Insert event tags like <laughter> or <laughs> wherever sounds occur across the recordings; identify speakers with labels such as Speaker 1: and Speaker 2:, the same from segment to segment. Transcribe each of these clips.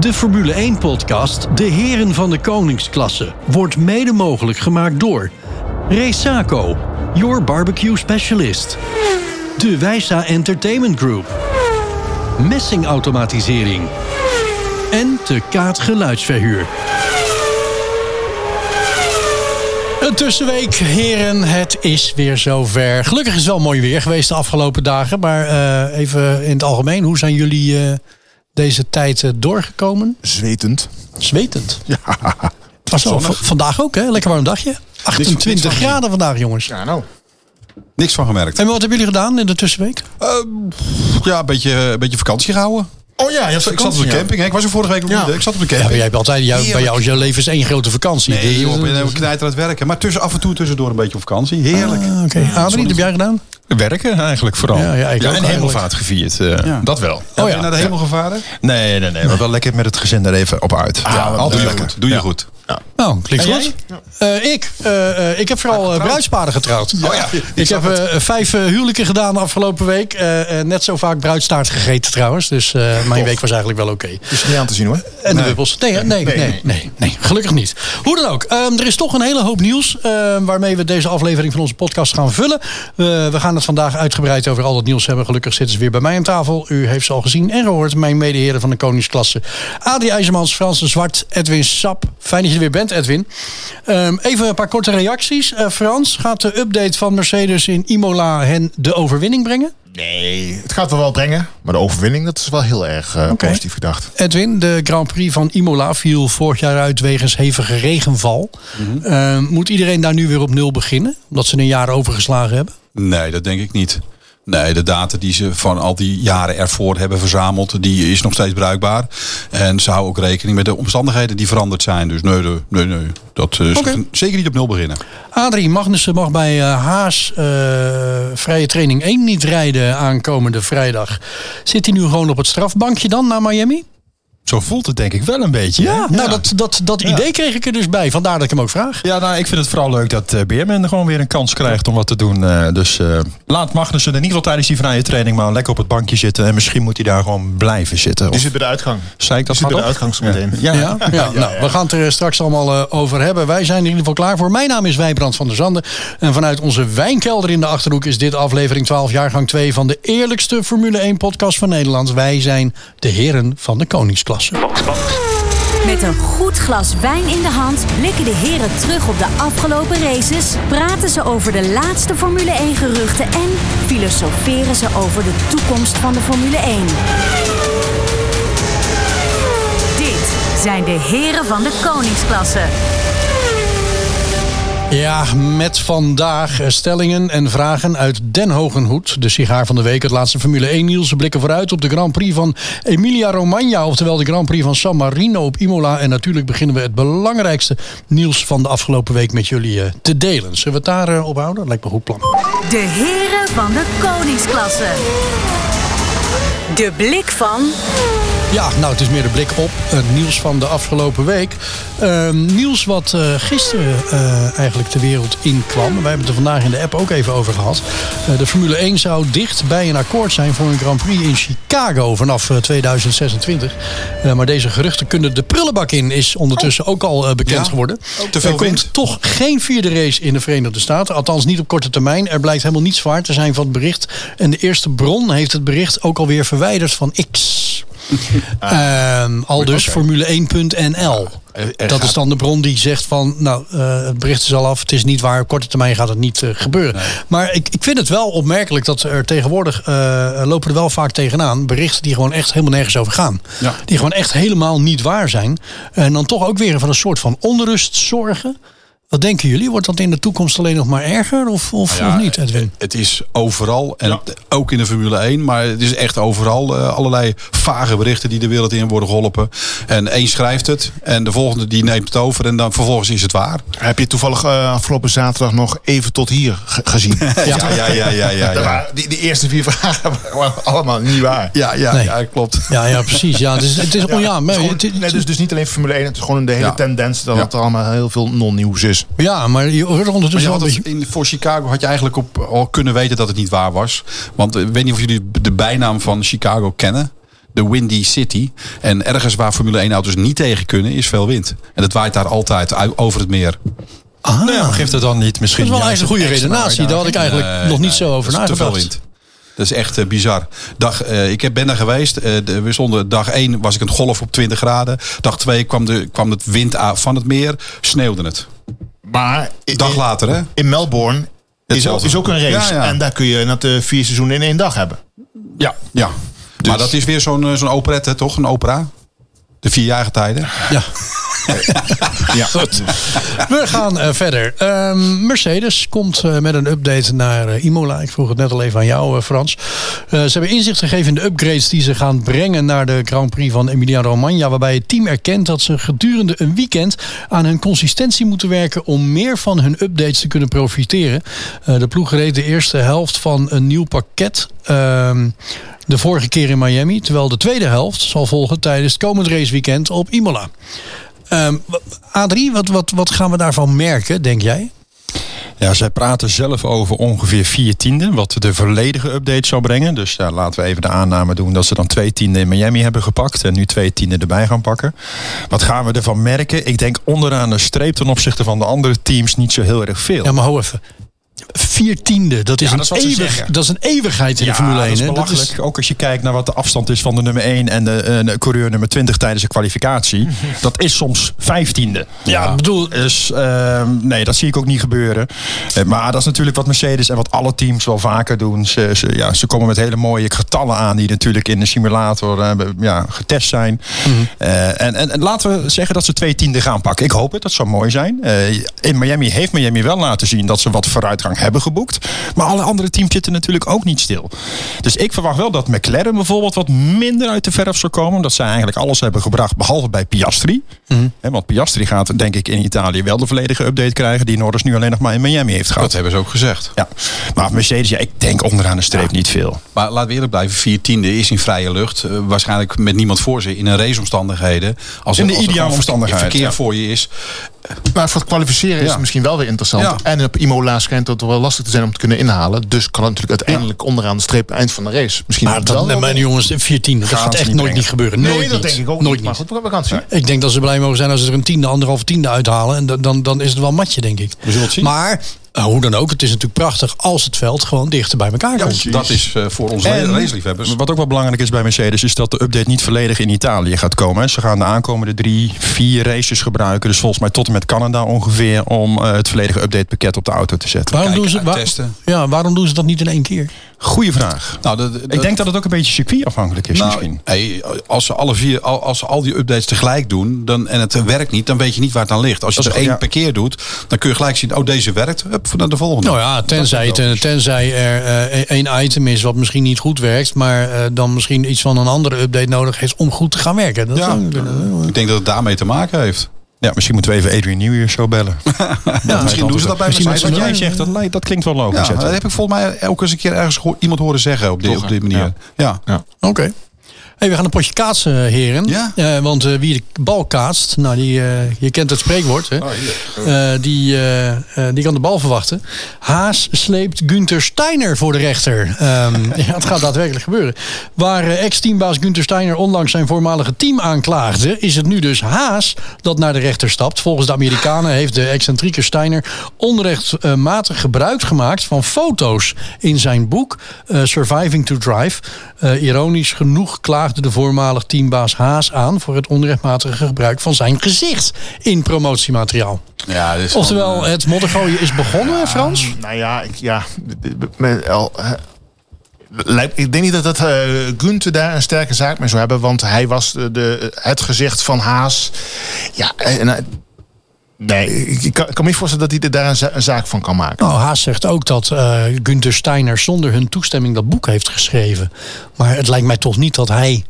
Speaker 1: De Formule 1-podcast De Heren van de Koningsklasse wordt mede mogelijk gemaakt door Resaco, your barbecue specialist. De Wijsa Entertainment Group. Messingautomatisering. En de Kaat Geluidsverhuur.
Speaker 2: Een tussenweek, heren. Het is weer zover. Gelukkig is het wel mooi weer geweest de afgelopen dagen. Maar eh, even in het algemeen, hoe zijn jullie eh, deze tijd eh, doorgekomen?
Speaker 3: Zwetend.
Speaker 2: Zwetend. Ja. Het was wel v- vandaag ook, hè? Lekker warm dagje.
Speaker 3: niks
Speaker 2: 28
Speaker 3: van gezien.
Speaker 2: graden vandaag, jongens.
Speaker 3: Ja, nou.
Speaker 4: Niks van gemerkt.
Speaker 2: En wat hebben jullie gedaan in de tussenweek?
Speaker 4: Ja, een beetje, een beetje vakantie gehouden.
Speaker 3: Oh ja, je hebt
Speaker 4: ik zat op de camping. Hè. Ik was er vorige week ook
Speaker 3: Ja.
Speaker 4: niet. Ik zat op de
Speaker 2: Ja, maar
Speaker 4: camping.
Speaker 2: jij hebt altijd, jou- bij
Speaker 4: Heerlijk.
Speaker 2: jou is jouw leven is één grote vakantie. dus-
Speaker 4: nee,
Speaker 5: dus
Speaker 4: joh, ik ben helemaal knijter aan het werken. Maar tussen, af en toe tussendoor een beetje op vakantie. Heerlijk.
Speaker 2: Ah, Oké, Ah, wat heb jij gedaan?
Speaker 5: Werken eigenlijk vooral.
Speaker 2: Ja, ja, ik ook
Speaker 5: en
Speaker 2: eigenlijk.
Speaker 5: hemelvaart gevierd. eh,
Speaker 4: Ja.
Speaker 5: Dat wel.
Speaker 4: Ben
Speaker 2: Oh
Speaker 4: je
Speaker 2: ja.
Speaker 4: naar de hemel gevaren?
Speaker 5: Nee, nee, nee. Maar wel lekker met het gezin er even op uit.
Speaker 4: Ja,
Speaker 5: altijd
Speaker 4: doe je
Speaker 5: lekker.
Speaker 4: goed. Doe je
Speaker 5: Ja.
Speaker 4: goed.
Speaker 2: Nou, klinkt
Speaker 5: En
Speaker 2: goed. Eh, ik, eh, eh, ik heb vooral eh, bruidsparen getrouwd.
Speaker 4: Oh ja, ik
Speaker 2: ik
Speaker 4: zag
Speaker 2: heb eh, vijf eh, huwelijken gedaan afgelopen week. Eh, eh, net zo vaak bruidstaart gegeten trouwens. Dus eh, mijn week was eigenlijk wel oké.
Speaker 4: Dus
Speaker 3: Is er niet aan te zien hoor.
Speaker 2: En de bubbels. Nee, hè? nee, nee, nee, nee, gelukkig niet. Hoe dan ook, ehm, er is toch een hele hoop nieuws ehm, waarmee we deze aflevering van onze podcast gaan vullen. Eh, we gaan het vandaag uitgebreid over al dat nieuws hebben. Gelukkig zitten ze weer bij mij aan tafel. U heeft ze al gezien en gehoord, mijn medeheren van de Koningsklasse. Adi IJzermans, Frans de Zwart, Edwin Sap. Fijn dat je er weer bent, Edwin. Ehm, even een paar korte reacties. Eh, Frans, gaat de update van Mercedes in Imola hen de overwinning brengen?
Speaker 3: Nee, het gaat wel wel brengen. Maar de overwinning, dat is wel heel erg eh,
Speaker 2: Oké.
Speaker 3: positief gedacht.
Speaker 2: Edwin, de Grand Prix van Imola viel vorig jaar uit wegens hevige regenval. Eh, moet iedereen daar nu weer op nul beginnen? Omdat ze een jaar overgeslagen hebben?
Speaker 4: Nee, dat denk ik niet. Nee, de data die ze van al die jaren ervoor hebben verzameld, die is nog steeds bruikbaar. En ze houden ook rekening met de omstandigheden die veranderd zijn. Dus nee, nee, nee, nee. dat eh, ze
Speaker 2: Oké.
Speaker 4: gaan zeker niet op nul beginnen.
Speaker 2: Adrie Magnussen mag bij eh, Haas eh, vrije training 1 niet rijden aankomende vrijdag. Zit hij nu gewoon op het strafbankje dan naar Miami?
Speaker 5: Zo voelt het denk ik wel een beetje. hè?
Speaker 2: nou dat, dat, dat idee kreeg ik er dus bij. Vandaar dat ik hem ook vraag.
Speaker 5: Ja, nou, ik vind het vooral leuk dat eh, Beerman gewoon weer een kans krijgt om wat te doen. Eh, dus eh, laat Magnussen in ieder geval tijdens die vrije training maar lekker op het bankje zitten. En misschien moet hij daar gewoon blijven zitten.
Speaker 3: Die
Speaker 5: Of,
Speaker 3: zit bij de uitgang.
Speaker 5: zei ik dat
Speaker 3: Die zit bij de
Speaker 5: hardop?
Speaker 3: uitgang zo meteen.
Speaker 5: Ja.
Speaker 2: Ja, ja, nou, we gaan het er straks allemaal eh, over hebben. Wij zijn er in ieder geval klaar voor. Mijn naam is Wijbrand van der Zanden. En vanuit onze wijnkelder in de Achterhoek is dit aflevering 12, jaargang 2 van de eerlijkste Formule 1 podcast van Nederland. Wij zijn de heren van de koningsklasse.
Speaker 6: Met een goed glas wijn in de hand blikken de heren terug op de afgelopen races, praten ze over de laatste Formule 1 geruchten en filosoferen ze over de toekomst van de Formule 1. Dit zijn de heren van de koningsklasse.
Speaker 2: Ja, met vandaag eh, stellingen en vragen uit Den Hogenhoed. De sigaar van de week, het laatste Formule 1 nieuws. We blikken vooruit op de Grand Prix van Emilia-Romagna. Oftewel de Grand Prix van San Marino op Imola. En natuurlijk beginnen we het belangrijkste nieuws van de afgelopen week met jullie eh, te delen. Zullen we het daar eh, op houden? Lijkt me een goed plan.
Speaker 6: De heren van de koningsklasse. De blik van
Speaker 2: Ja, nou het is meer de blik op het nieuws van de afgelopen week. Ehm, nieuws wat eh, gisteren eh, eigenlijk de wereld inkwam. Wij hebben het er vandaag in de app ook even over gehad. Eh, de Formule 1 zou dicht bij een akkoord zijn voor een Grand Prix in Chicago vanaf eh, 2026. Eh, maar deze geruchten kunnen de prullenbak in, is ondertussen ook al eh, bekend
Speaker 4: Ja,
Speaker 2: geworden.
Speaker 4: te veel
Speaker 2: er komt
Speaker 4: wind.
Speaker 2: toch geen vierde race in de Verenigde Staten. Althans niet op korte termijn. Er blijkt helemaal niets waar te zijn van het bericht. En de eerste bron heeft het bericht ook alweer verwijderd van X.
Speaker 4: Ah.
Speaker 2: Ehm, al dus Formule1.nl. dat is dan de bron die zegt van, nou, eh, het bericht is al af, het is niet waar, op korte termijn gaat het niet eh, gebeuren. Maar ik, ik vind het wel opmerkelijk dat er tegenwoordig, eh, lopen er wel vaak tegenaan, berichten die gewoon echt helemaal nergens over gaan.
Speaker 4: Ja.
Speaker 2: Die gewoon echt helemaal niet waar zijn. En dan toch ook weer van een soort van onrust zorgen. Wat denken jullie? Wordt dat in de toekomst alleen nog maar erger of, of,
Speaker 4: Nou Ja, eh,
Speaker 2: of niet, Edwin?
Speaker 4: Het is overal, en ook in de Formule 1, maar het is echt overal eh, allerlei vage berichten die de wereld in worden geholpen. En één schrijft het en de volgende die neemt het over en dan vervolgens is het waar.
Speaker 3: Heb je toevallig eh, afgelopen zaterdag nog even tot hier ge- <laughs> gezien? ja,
Speaker 4: ja, ja, ja, ja,
Speaker 3: Dat
Speaker 4: ja.
Speaker 3: waren- die, die eerste vier <laughs> vragen waren allemaal niet waar.
Speaker 4: Ja, ja,
Speaker 2: Nee.
Speaker 4: ja klopt.
Speaker 2: Ja, ja, precies. Oh Ja, het is,
Speaker 4: <laughs>
Speaker 2: het is
Speaker 3: Ja,
Speaker 2: onjaar.
Speaker 3: het is gewoon-
Speaker 2: het is-
Speaker 3: nee, dus, dus niet alleen Formule 1, het is gewoon de hele
Speaker 4: Ja.
Speaker 3: tendens dat
Speaker 4: Ja.
Speaker 3: het allemaal heel veel non-nieuws is.
Speaker 2: Ja, maar je hoort er
Speaker 4: dus- Maar je
Speaker 2: ondertussen wel
Speaker 4: had
Speaker 2: een
Speaker 4: het
Speaker 2: beetje...
Speaker 4: in, voor Chicago had je eigenlijk op, al kunnen weten dat het niet waar was. Want eh, ik weet niet of jullie de bijnaam van Chicago kennen. de Windy City. En ergens waar Formule 1 auto's niet tegen kunnen is veel wind. En dat waait daar altijd u- over het meer.
Speaker 2: Ah,
Speaker 5: Nou ja, maar geeft het dan niet
Speaker 2: dat
Speaker 5: misschien...
Speaker 2: is wel
Speaker 5: juist
Speaker 2: eigenlijk een goede
Speaker 5: extra
Speaker 2: redenatie. Daar had ik eigenlijk
Speaker 4: Nee,
Speaker 2: nog niet
Speaker 4: nee,
Speaker 2: zo over
Speaker 4: Eh, dat is
Speaker 2: nagedacht.
Speaker 4: Te veel wind. Dat is echt eh, bizar. Dag, eh, ik heb- ben daar geweest. Eh, de- we stonden, dag 1 was ik een golf op 20 graden. Dag 2 kwam, de, kwam het wind aan van het meer. Sneeuwde het.
Speaker 3: Maar i-
Speaker 4: Dag later, hè?
Speaker 3: in Melbourne is ook,
Speaker 4: Hetzelfde.
Speaker 3: is ook een race.
Speaker 4: Ja, ja.
Speaker 3: En daar kun je dat, eh, vier seizoenen in één dag hebben.
Speaker 4: Ja. ja. Maar dat is weer zo'n eh, zo'n operette, toch? Een opera? De vierjarige tijden.
Speaker 2: Ja. ja. Goed. We gaan eh, verder. Ehm, Mercedes komt eh, met een update naar eh, Imola. Ik vroeg het net al even aan jou, eh, Frans. Eh, ze hebben inzicht gegeven in de upgrades die ze gaan brengen naar de Grand Prix van Emilia-Romagna. Waarbij het team erkent dat ze gedurende een weekend aan hun consistentie moeten werken om meer van hun updates te kunnen profiteren. Eh, de ploeg reed de eerste helft van een nieuw pakket. ehm, de vorige keer in Miami, terwijl de tweede helft zal volgen tijdens het komend raceweekend op Imola. Ehm, wa- Adrie, wat, wat, wat gaan we daarvan merken, denk jij?
Speaker 5: Ja, zij praten zelf over ongeveer vier tienden, wat de volledige update zou brengen. Dus ja, laten we even de aanname doen dat ze dan twee tienden in Miami hebben gepakt en nu twee tienden erbij gaan pakken. Wat gaan we ervan merken? Ik denk onderaan de streep ten opzichte van de andere teams niet zo heel erg veel.
Speaker 2: Ja, maar hou even. Vier tiende, dat is,
Speaker 5: Ja, dat is wat
Speaker 2: een,
Speaker 5: ze
Speaker 2: eeuwig,
Speaker 5: zeggen.
Speaker 2: dat is een eeuwigheid in de Formule 1.
Speaker 5: dat is
Speaker 2: hè?
Speaker 5: belachelijk. Ook als je kijkt naar wat de afstand is van de nummer 1 en de, eh, de coureur nummer 20 tijdens de <laughs> kwalificatie. dat is soms vijftiende.
Speaker 2: Ja, ik bedoel-
Speaker 5: Dus ehm, nee, dat zie ik ook niet gebeuren. Eh, maar dat is natuurlijk wat Mercedes en wat alle teams wel vaker doen. Ze, ze, ja, ze komen met hele mooie getallen aan die natuurlijk in de simulator eh, be- ja, getest zijn. Eh, en, en, en laten we zeggen dat ze twee tienden gaan pakken. Ik hoop het, dat zou mooi zijn. Eh, in Miami heeft Miami wel laten zien dat ze wat vooruitgang hebben geboekt. Maar alle andere teams zitten natuurlijk ook niet stil. Dus ik verwacht wel dat McLaren bijvoorbeeld wat minder uit de verf zou komen. Omdat zij eigenlijk alles hebben gebracht, behalve bij Piastri. Hè, want Piastri gaat denk ik in Italië wel de volledige update krijgen. Die Norris nu alleen nog maar in Miami heeft
Speaker 4: Dat
Speaker 5: gehad.
Speaker 4: hebben ze ook gezegd.
Speaker 5: Ja. Maar Mercedes, ja, ik denk onderaan de streep niet veel.
Speaker 4: Maar laten we eerlijk blijven, vier tiende is in vrije lucht. eh, waarschijnlijk met niemand voor ze in een raceomstandigheden. Als
Speaker 5: In
Speaker 4: er-
Speaker 5: de
Speaker 4: als er
Speaker 5: ideale
Speaker 4: gewoon
Speaker 5: omstandigheden,
Speaker 4: verkeer
Speaker 5: ja.
Speaker 4: voor je is.
Speaker 3: Maar Nou, voor het kwalificeren is
Speaker 4: Ja.
Speaker 3: het misschien wel weer interessant.
Speaker 4: Ja.
Speaker 3: En op Imola schijnt dat wel lastig te zijn om te kunnen inhalen. Dus kan het natuurlijk uiteindelijk onderaan de streep eind van de race. Misschien
Speaker 2: Maar dat,
Speaker 3: wel.
Speaker 2: nee, mijn jongens, vier tiende, dat
Speaker 5: Gaan
Speaker 2: gaat
Speaker 5: ze
Speaker 2: echt
Speaker 5: niet
Speaker 2: nooit
Speaker 5: brengen.
Speaker 2: niet gebeuren.
Speaker 3: nee,
Speaker 2: nooit
Speaker 3: dat
Speaker 2: niet.
Speaker 3: denk ik ook
Speaker 2: nooit
Speaker 3: niet. Maar goed, we gaan het zien.
Speaker 2: Ik denk dat ze blij mogen zijn als ze er een tiende, anderhalf tiende uithalen. En dan- dan, dan is het wel een matje, denk ik.
Speaker 4: zullen het zien.
Speaker 2: Maar eh, hoe dan ook, het is natuurlijk prachtig als het veld gewoon dichter bij elkaar komt.
Speaker 4: dat is eh, voor onze
Speaker 5: En-
Speaker 4: raceliefhebbers.
Speaker 5: Wat ook wel belangrijk is bij Mercedes is dat de update niet volledig in Italië gaat komen. hè. Ze gaan de aankomende drie, vier races gebruiken. Dus volgens mij tot en met Canada ongeveer om eh, het volledige updatepakket op de auto te zetten.
Speaker 2: waarom,
Speaker 4: kijken,
Speaker 2: doen ze, waar-
Speaker 4: uittesten.
Speaker 2: ja, waarom doen ze dat niet in één keer?
Speaker 5: Goeie vraag.
Speaker 4: Nou, dat-
Speaker 5: Ik denk dat het ook een beetje circuitafhankelijk is
Speaker 4: Nou,
Speaker 5: misschien.
Speaker 4: hey, als ze alle vier, al- als ze al die updates tegelijk doen dan, en het werkt niet, dan weet je niet waar het aan ligt. Als je
Speaker 5: Dat
Speaker 4: er
Speaker 5: is
Speaker 4: één
Speaker 5: goed, ja.
Speaker 4: per keer doet, dan kun je gelijk zien, oh deze werkt, hup, naar de volgende.
Speaker 2: Nou ja, tenzij,
Speaker 4: Dat is
Speaker 2: ten- tenzij er eh, één item is wat misschien niet goed werkt, maar eh, dan misschien iets van een andere update nodig heeft om goed te gaan werken. Dat
Speaker 4: Ja,
Speaker 2: zou kunnen.
Speaker 4: ik denk dat het daarmee te maken heeft.
Speaker 5: Ja, misschien moeten we even Adrian Newey zo bellen.
Speaker 4: Ja, misschien doen ze dat bij
Speaker 5: Misschien
Speaker 4: Mercedes.
Speaker 5: wat jij zegt, dat, lijkt- dat klinkt wel
Speaker 4: Ja,
Speaker 5: logisch. hè,
Speaker 4: dat heb ik volgens mij elke eens een keer ergens gehoor- iemand horen zeggen op, die- op die manier. Ja.
Speaker 2: Oké. Hey, we gaan een potje kaatsen, heren.
Speaker 4: Ja.
Speaker 2: Eh, want eh, wie de bal kaatst, nou, die, eh, je kent het spreekwoord, hè?
Speaker 4: Oh,
Speaker 2: Eh, die, eh, eh, die kan de bal verwachten. Haas sleept Gunther Steiner voor de rechter. Ehm, <laughs> ja, het gaat daadwerkelijk gebeuren. Waar eh, ex-teambaas Gunther Steiner onlangs zijn voormalige team aanklaagde, is het nu dus Haas dat naar de rechter stapt. Volgens de Amerikanen heeft de excentrieke Steiner onrechtmatig gebruik gemaakt van foto's in zijn boek eh, Surviving to Drive. Eh, ironisch genoeg klaagde de voormalig teambaas Haas aan voor het onrechtmatige gebruik van zijn gezicht in promotiemateriaal.
Speaker 4: Ja, dus
Speaker 2: Oftewel, het moddergooien is begonnen, Frans.
Speaker 3: Nou ja, ik, ja. d- d- met- al, eh, lijkt- Ik denk niet dat, dat eh Gunther daar een sterke zaak mee zou hebben. Want hij was de, de- het gezicht van Haas. Ja, eh, en, hij- nee, ik, ik kan, ik kan me niet voorstellen dat hij er daar een, za- een zaak van kan maken.
Speaker 2: Nou, Haas zegt ook dat eh Gunther Steiner zonder hun toestemming dat boek heeft geschreven. Maar het lijkt mij toch niet dat hij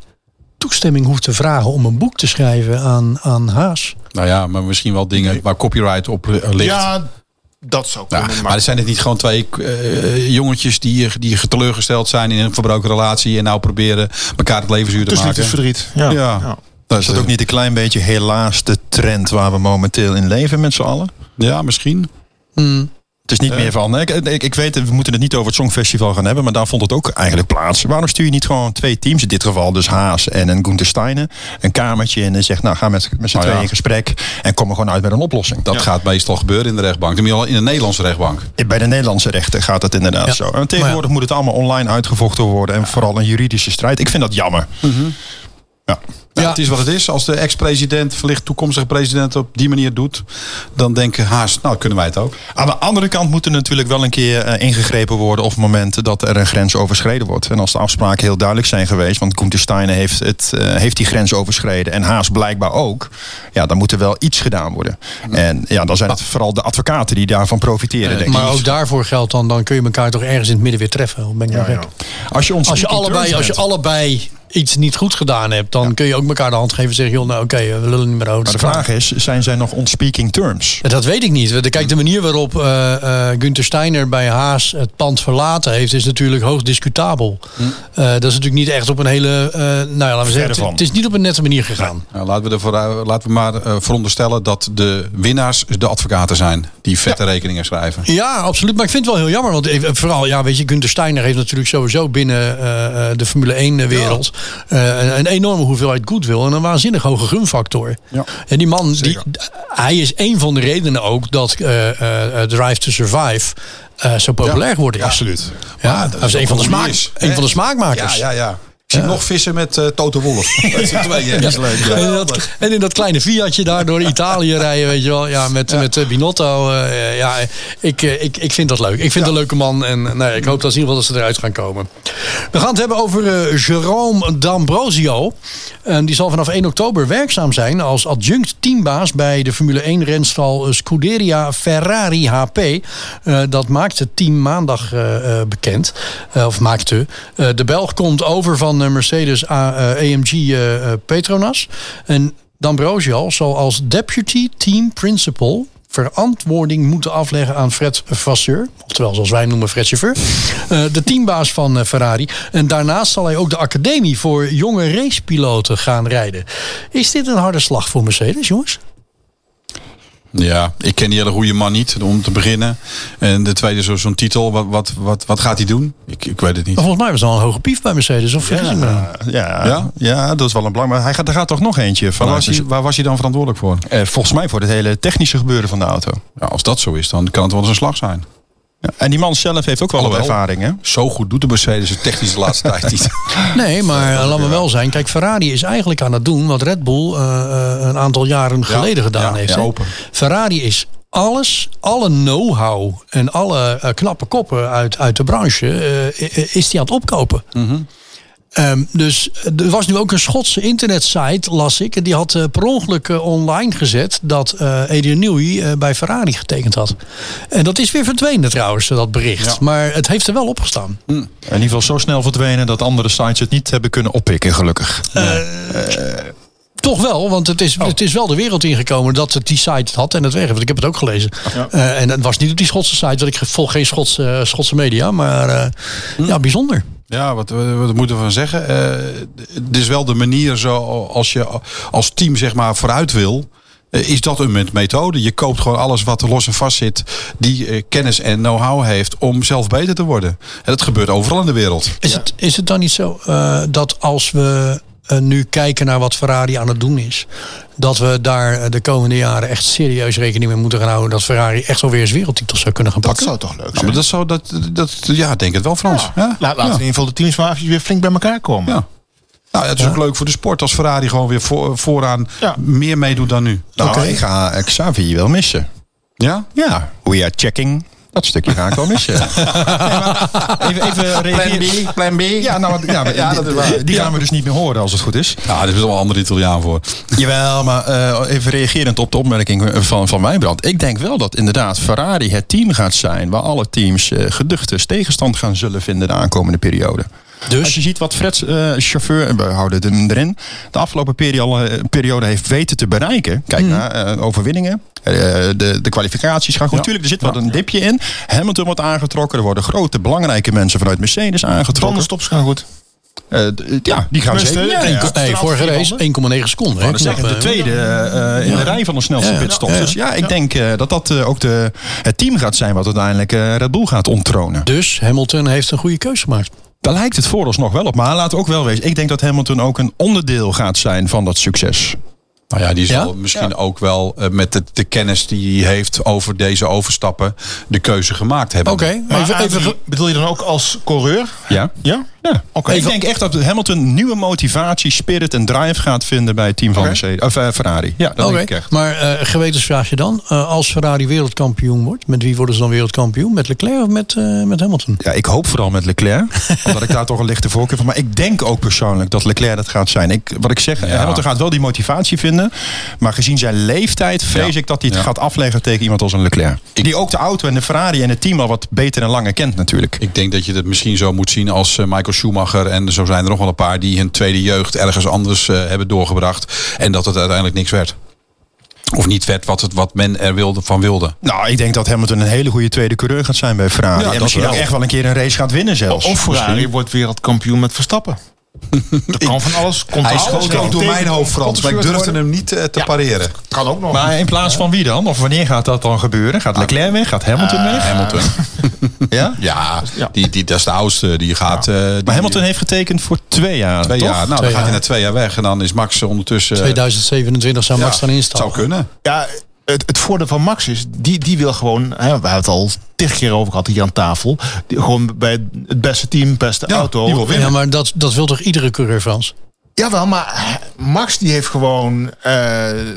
Speaker 2: toestemming hoeft te vragen om een boek te schrijven aan, aan Haas.
Speaker 4: Nou ja, maar misschien wel dingen waar copyright op eh, ligt.
Speaker 3: Ja, dat zou
Speaker 4: Ja,
Speaker 3: kunnen. maar
Speaker 4: maar zijn het niet gewoon twee eh, jongetjes die, die teleurgesteld zijn in een verbroken relatie en nou proberen elkaar het leven zuur te
Speaker 3: dus
Speaker 4: maken?
Speaker 3: liefdes verdriet.
Speaker 5: Ja.
Speaker 4: Ja. Nou, Dat
Speaker 5: Is dat ook niet een klein beetje helaas de trend waar we momenteel in leven met z'n allen?
Speaker 4: Ja, misschien.
Speaker 5: Het is niet meer van. hè, Ik, ik, ik weet, we moeten het niet over het Songfestival gaan hebben, maar daar vond het ook eigenlijk plaats. Waarom stuur je niet gewoon twee teams, in dit geval dus Haas en een Gunther Steiner, een kamertje in en zegt, nou ga met, met z'n
Speaker 4: Nou ja.
Speaker 5: tweeën in gesprek en kom er gewoon uit met een oplossing.
Speaker 4: Dat gaat meestal gebeuren in de rechtbank. Dan moet je al in de Nederlandse rechtbank.
Speaker 5: Bij de Nederlandse rechter gaat dat inderdaad
Speaker 2: Ja.
Speaker 5: zo. En tegenwoordig moet het allemaal online uitgevochten worden en vooral een juridische strijd. Ik vind dat jammer. Ja.
Speaker 4: Ja,
Speaker 2: Ja.
Speaker 4: Het is wat het is. Als de ex-president, verlicht toekomstige president, op die manier doet, dan denken haast, nou kunnen wij het ook.
Speaker 5: Aan de andere kant moet er natuurlijk wel een keer eh, ingegrepen worden op momenten dat er een grens overschreden wordt. En als de afspraken heel duidelijk zijn geweest, want Koen de Steiner heeft, het, eh, heeft die grens overschreden en Haas blijkbaar ook, ja, dan moet er wel iets gedaan worden. En ja, dan zijn het vooral de advocaten die daarvan profiteren, denk ik.
Speaker 2: Eh, Maar ook daarvoor geldt dan, dan kun je elkaar toch ergens in het midden weer treffen. Of ben ik nou gek?
Speaker 5: als je, ons
Speaker 2: Als je, allebei, als je
Speaker 5: bent,
Speaker 2: allebei iets niet goed gedaan hebt, dan kun je ook elkaar de hand geven en zeggen, joh, nou oké, we lullen niet meer over.
Speaker 5: maar de vraag is, zijn zij nog on speaking terms?
Speaker 2: Ja, Dat weet ik niet. Want Kijk, de manier waarop eh eh Gunther Steiner bij Haas het pand verlaten heeft, is natuurlijk hoogst discutabel. Eh, dat is natuurlijk niet echt op een hele. eh, nou ja, laten we zeggen, het,
Speaker 5: van.
Speaker 2: het is niet op een nette manier gegaan.
Speaker 4: Nou, laten, we ervoor, eh, laten we maar eh, veronderstellen dat de winnaars de advocaten zijn. Die vette rekeningen schrijven.
Speaker 2: Ja, absoluut. Maar ik vind het wel heel jammer. Want even- vooral, ja, weet je, Gunther Steiner heeft natuurlijk sowieso binnen eh, eh, de Formule 1-wereld een enorme hoeveelheid goodwill en een waanzinnig hoge gunfactor. En die man, die, hij is een van de redenen ook dat eh, eh, eh, Drive to Survive eh, zo populair wordt. is.
Speaker 4: absoluut.
Speaker 2: Ja,
Speaker 4: Maar
Speaker 2: dat is een van de, smaak,
Speaker 4: is, hè?
Speaker 2: een van de
Speaker 4: Ja,
Speaker 2: smaakmakers.
Speaker 4: ja, ja. Ik zie nog vissen met eh Toto <laughs> Wolff. Dat is twee, ja. Dat is leuk.
Speaker 2: En, in
Speaker 4: Ja.
Speaker 2: dat, en in dat kleine Fiatje daar door <laughs> Italië rijden, weet je wel. Ja, met, met eh, Binotto. eh, ja, ik, eh, ik, ik vind dat leuk. Ik vind het een leuke man. En eh, nou, ja, ik hoop dat in ieder geval dat ze eruit gaan komen. We gaan het hebben over eh, Jerome D'Ambrosio. En die zal vanaf 1 oktober werkzaam zijn als adjunct teambaas bij de Formule 1 renstal Scuderia Ferrari HP. Eh, dat maakt het team maandag eh, eh, bekend. Eh, of maakte. Eh, de Belg komt over van eh, Mercedes A- eh, AMG eh, eh, Petronas. En D'Ambrosio zal als deputy team principal verantwoording moeten afleggen aan Fred Vasseur. Oftewel, zoals wij hem noemen, Fred Chauffeur. eh, de teambaas van eh, Ferrari. En daarnaast zal hij ook de academie voor jonge racepiloten gaan rijden. Is dit een harde slag voor Mercedes, jongens?
Speaker 4: Ja, ik ken die hele goede man niet, om te beginnen. En de tweede, zo- zo'n titel, wat, wat, wat, wat gaat hij doen? Ik, ik weet het niet.
Speaker 2: Maar volgens mij was al een hoge pief bij Mercedes. Of vergis ik me nou?
Speaker 5: Ja,
Speaker 4: Ja?
Speaker 5: ja? dat is wel een belangrijk. Maar hij gaat, er gaat toch nog eentje van. Eh,
Speaker 4: Waar was, hij, waar was hij dan verantwoordelijk voor?
Speaker 5: volgens mij voor het hele technische gebeuren van de auto.
Speaker 4: Ja, als dat zo is, dan kan het wel eens een slag zijn.
Speaker 5: Ja. En die man zelf heeft ook wel wat
Speaker 4: Alhoewel.
Speaker 5: ervaring, hè?
Speaker 4: Zo goed doet de Mercedes het technisch de laatste <laughs> tijd niet. <laughs>
Speaker 2: Nee, maar eh, laten we wel zijn. Kijk, Ferrari is eigenlijk aan het doen wat Red Bull eh, eh, een aantal jaren geleden gedaan
Speaker 4: ja,
Speaker 2: heeft.
Speaker 4: ja,
Speaker 2: hè.
Speaker 4: open.
Speaker 2: Ferrari is alles, alle know-how en alle eh, knappe koppen uit, uit de branche, eh, eh, is die aan het opkopen.
Speaker 4: Mhm.
Speaker 2: Ehm, dus eh, er was nu ook een Schotse internetsite, las ik. En die had eh, per ongeluk eh, online gezet dat eh Adrian Newey eh, bij Ferrari getekend had. En dat is weer verdwenen trouwens, eh, dat bericht. Maar het heeft er wel opgestaan.
Speaker 5: In ieder geval zo snel verdwenen dat andere sites het niet hebben kunnen oppikken, gelukkig.
Speaker 2: Toch wel, want het is,
Speaker 5: Oh.
Speaker 2: het is wel de wereld ingekomen dat het die site het had en het weg. heeft. Want ik heb het ook gelezen. Eh, en het was niet op die Schotse site, want ik volg geen Schotse, eh, Schotse media. Maar eh,
Speaker 5: Hm.
Speaker 2: ja, bijzonder.
Speaker 4: Ja, wat, wat wat moeten we van zeggen? Eh, het is wel de manier zo als je als team zeg maar vooruit wil. eh, Is dat een met- methode? Je koopt gewoon alles wat er los en vast zit, die eh, kennis en know-how heeft om zelf beter te worden. En dat gebeurt overal in de wereld.
Speaker 2: Is, het, is het dan niet zo eh, dat als we eh, nu kijken naar wat Ferrari aan het doen is, dat we daar eh, de komende jaren echt serieus rekening mee moeten gaan houden dat Ferrari echt alweer eens wereldtitels zou kunnen gaan
Speaker 3: Dat
Speaker 2: pakken?
Speaker 3: zou toch leuk
Speaker 4: Ja,
Speaker 3: zijn?
Speaker 4: maar dat zou dat, dat ja, ik denk het wel Frans. Ja.
Speaker 3: Laat, laten in ieder geval de teams maar eventjes weer flink bij elkaar komen.
Speaker 4: Ja. Nou, ja, het is ook leuk voor de sport als Ferrari gewoon weer voor, vooraan
Speaker 3: Ja.
Speaker 4: meer meedoet dan nu.
Speaker 5: nou,
Speaker 2: oké.
Speaker 5: ik ga eh, Xavi wel missen.
Speaker 4: Ja?
Speaker 5: Ja, we are checking. Dat stukje ga ik wel missen.
Speaker 4: <laughs>
Speaker 5: Nee, maar even, even reageren.
Speaker 4: plan B. Ja,
Speaker 5: Ja, nou, want- ja,
Speaker 4: Ja,
Speaker 5: die,
Speaker 4: dat is waar.
Speaker 5: die
Speaker 4: Ja.
Speaker 5: gaan we dus niet meer horen als het goed is.
Speaker 4: nou, er is wel een ander Italiaan voor.
Speaker 5: Jawel, maar eh, even reagerend op de opmerking van, van Wijnbrand. Ik denk wel dat inderdaad Ferrari het team gaat zijn... waar alle teams eh geduchtes tegenstand gaan zullen vinden de aankomende periode. Dus? Als je ziet wat Fred's eh, chauffeur, en we houden hem erin... de afgelopen periode, periode heeft weten te bereiken. Kijk naar eh, overwinningen. eh, de, de kwalificaties gaan goed. Natuurlijk, er zit wat een dipje in. Hamilton wordt aangetrokken. Er worden grote, belangrijke mensen vanuit Mercedes aangetrokken.
Speaker 3: Tandenstops gaan goed.
Speaker 5: eh, d- ja, die gaan
Speaker 3: Musten,
Speaker 5: zeker. Ja,
Speaker 3: denk
Speaker 5: ja.
Speaker 3: ik.
Speaker 2: Nee,
Speaker 3: Achteraf
Speaker 2: vorige
Speaker 3: vier
Speaker 2: race 1,9 seconden. hè?
Speaker 5: Dat is echt
Speaker 2: Knap,
Speaker 5: de
Speaker 2: eh,
Speaker 5: tweede eh, eh, in de rij van de snelste
Speaker 2: Ja.
Speaker 5: pitstop.
Speaker 2: Ja.
Speaker 5: Dus ja, ik denk eh, dat dat eh, ook de, het team gaat zijn wat uiteindelijk eh, Red Bull gaat onttronen.
Speaker 2: Dus Hamilton heeft een goede keuze gemaakt.
Speaker 5: Daar lijkt het vooralsnog wel op. Maar laten we ook wel wezen. Ik denk dat Hamilton ook een onderdeel gaat zijn van dat succes.
Speaker 4: Nou ja, die zal
Speaker 2: Ja?
Speaker 4: misschien ook wel eh, met de, de kennis die hij heeft over deze overstappen de keuze gemaakt hebben.
Speaker 2: Oké,
Speaker 3: Maar
Speaker 2: even, even,
Speaker 3: Adrie,
Speaker 2: ge-
Speaker 3: bedoel je dan ook als coureur?
Speaker 5: Ja?
Speaker 3: Ja?
Speaker 5: Ja.
Speaker 3: Oké.
Speaker 5: Ik denk echt dat Hamilton nieuwe motivatie, spirit en drive gaat vinden bij het team van
Speaker 3: Oké.
Speaker 5: Mercedes, of, eh, Ferrari. Ja, dat
Speaker 2: Oké,
Speaker 5: denk ik echt.
Speaker 2: maar eh, gewetensvraagje dan. Eh, als Ferrari wereldkampioen wordt, met wie worden ze dan wereldkampioen? Met Leclerc of met, eh, met Hamilton?
Speaker 5: Ja, ik hoop vooral met
Speaker 4: <laughs>
Speaker 5: Leclerc. omdat ik daar toch een lichte voorkeur van. Maar ik denk ook persoonlijk dat Leclerc dat gaat zijn. Ik, wat ik zeg, Hamilton gaat wel die motivatie vinden. Maar gezien zijn leeftijd vrees
Speaker 4: Ja.
Speaker 5: ik dat hij het
Speaker 4: Ja.
Speaker 5: gaat afleggen tegen iemand als een Leclerc. die ook de auto en de Ferrari en het team al wat beter en langer kent natuurlijk.
Speaker 4: Ik denk dat je dat misschien zo moet zien als eh, Michael Schumacher. En zo zijn er nog wel een paar die hun tweede jeugd ergens anders eh, hebben doorgebracht. En dat het uiteindelijk niks werd. Of niet werd wat, het, wat men er wilde, van wilde.
Speaker 5: Nou, ik denk dat Hamilton een hele goede tweede coureur gaat zijn bij Ferrari.
Speaker 4: Ja,
Speaker 5: en
Speaker 4: dat
Speaker 5: misschien
Speaker 4: wel.
Speaker 5: ook echt wel een keer een race gaat winnen zelfs.
Speaker 3: Of Ferrari wordt wereldkampioen met
Speaker 4: <laughs>
Speaker 3: Verstappen. Dat kan van alles. Komt
Speaker 4: Hij
Speaker 3: alles
Speaker 4: schoot
Speaker 3: tegen.
Speaker 4: ook door mijn hoofd, Frans. Maar ik durfde hem niet eh, te pareren.
Speaker 3: Kan ook nog.
Speaker 5: Maar in plaats van wie dan? Of wanneer gaat dat dan gebeuren? Gaat Leclerc weg? Gaat Hamilton weg?
Speaker 4: Ah. Hamilton.
Speaker 5: <laughs> Ja?
Speaker 4: <laughs> Ja, Die, die, dat is de oudste. Die gaat... eh, die-
Speaker 5: Maar Hamilton heeft getekend voor twee jaar,
Speaker 4: Twee
Speaker 5: toch?
Speaker 4: jaar. Nou,
Speaker 2: Twee
Speaker 4: dan gaat hij
Speaker 2: jaar.
Speaker 4: na twee jaar weg. En dan is Max ondertussen... eh,
Speaker 2: 2027 zou Max
Speaker 4: ja,
Speaker 2: gaan instappen.
Speaker 4: Zou kunnen.
Speaker 3: Ja, het, het voordeel van Max is, die, die wil gewoon, hè, we hebben het al tig keer over gehad hier aan tafel. Die, gewoon bij het beste team, beste
Speaker 4: Ja,
Speaker 3: auto.
Speaker 4: die wil winnen.
Speaker 2: Ja, maar dat, dat wil toch iedere coureur, Frans?
Speaker 3: Jawel, maar Max die heeft gewoon eh,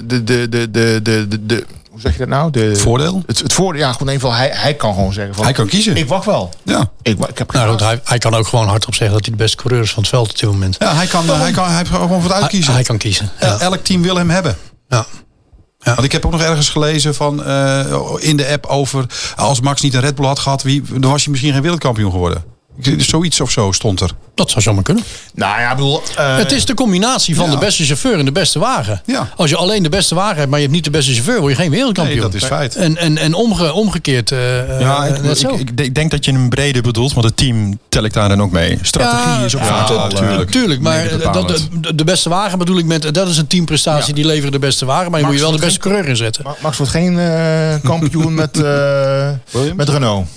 Speaker 3: de, de, de, de, de, de, de- hoe zeg je dat nou? De,
Speaker 4: Voordeel?
Speaker 3: Het, het voordeel, ja, gewoon in ieder geval, hij, hij kan gewoon zeggen van,
Speaker 4: Hij kan kiezen.
Speaker 3: ik wacht wel.
Speaker 4: Ja.
Speaker 3: Ik, wa- ik heb
Speaker 2: Nou,
Speaker 3: geen
Speaker 2: goed,
Speaker 3: haast.
Speaker 2: hij, hij kan ook gewoon hardop zeggen dat hij de beste coureur is van het veld op dit moment.
Speaker 4: Ja, hij kan, hij kan, hij heeft gewoon wat
Speaker 2: Hij,
Speaker 4: uitkiezen.
Speaker 2: hij kan kiezen. Ja.
Speaker 4: Eh, Elk team wil hem hebben.
Speaker 2: Ja.
Speaker 4: Want ik heb ook nog ergens gelezen van eh, in de app over als Max niet een Red Bull had gehad, wie, dan was hij misschien geen wereldkampioen geworden. Ik- Zoiets of zo stond er.
Speaker 2: Dat zou zomaar kunnen.
Speaker 3: Nou ja, ik bedoel, eh,
Speaker 2: het is de combinatie van
Speaker 4: ja.
Speaker 2: de beste chauffeur en de beste wagen.
Speaker 4: Ja.
Speaker 2: Als je alleen de beste wagen hebt, maar je hebt niet de beste chauffeur, word je geen wereldkampioen.
Speaker 4: Nee, dat is feit.
Speaker 2: En, en, en omge, omgekeerd. eh,
Speaker 5: Ja,
Speaker 2: eh,
Speaker 5: ik,
Speaker 2: net
Speaker 5: ik,
Speaker 2: zo.
Speaker 5: ik- ik denk dat je hem breder bedoelt, want het team tel ik daar dan ook mee. Strategie is ook vaak al, eh,
Speaker 4: natuurlijk.
Speaker 2: Tuurlijk, maar eh,
Speaker 5: mede
Speaker 2: dat,
Speaker 5: bepalend.
Speaker 2: de, de beste wagen bedoel ik met... Dat is een teamprestatie, die leveren de beste wagen. Maar je
Speaker 3: Max
Speaker 2: moet je wel de
Speaker 3: wordt
Speaker 2: beste coureur inzetten.
Speaker 3: Ma- Max wordt geen eh, kampioen met, <laughs> eh, met Renault.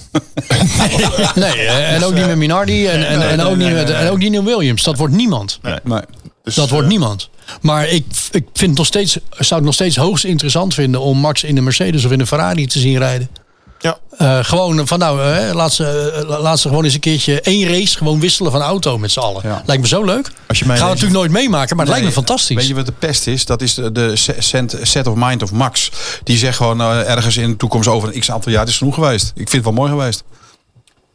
Speaker 2: Nee, eh, en ook niet met Minardi en, en,
Speaker 3: Nee,
Speaker 2: en,
Speaker 3: nee,
Speaker 2: ook
Speaker 3: nee,
Speaker 2: niet
Speaker 3: nee,
Speaker 2: met,
Speaker 3: nee.
Speaker 2: en ook niet met Williams. Dat wordt niemand.
Speaker 3: Dus,
Speaker 2: Dat wordt
Speaker 3: eh,
Speaker 2: niemand. Maar ik, ik vind het nog steeds, zou het nog steeds hoogst interessant vinden... om Max in een Mercedes of in een Ferrari te zien rijden.
Speaker 3: Ja.
Speaker 2: Eh, gewoon van nou, eh, laat, ze, eh, la- laat ze gewoon eens een keertje één race... gewoon wisselen van auto met z'n allen. Lijkt me zo leuk.
Speaker 5: Als je mij
Speaker 2: Gaan we
Speaker 5: deze-
Speaker 2: natuurlijk nooit meemaken, maar het lijkt me fantastisch.
Speaker 4: Weet je wat de pest is? Dat is de, de se- cent- set of mind of Max. Die zegt gewoon eh, ergens in de toekomst over een x aantal jaar het is genoeg geweest. Ik vind het wel mooi geweest.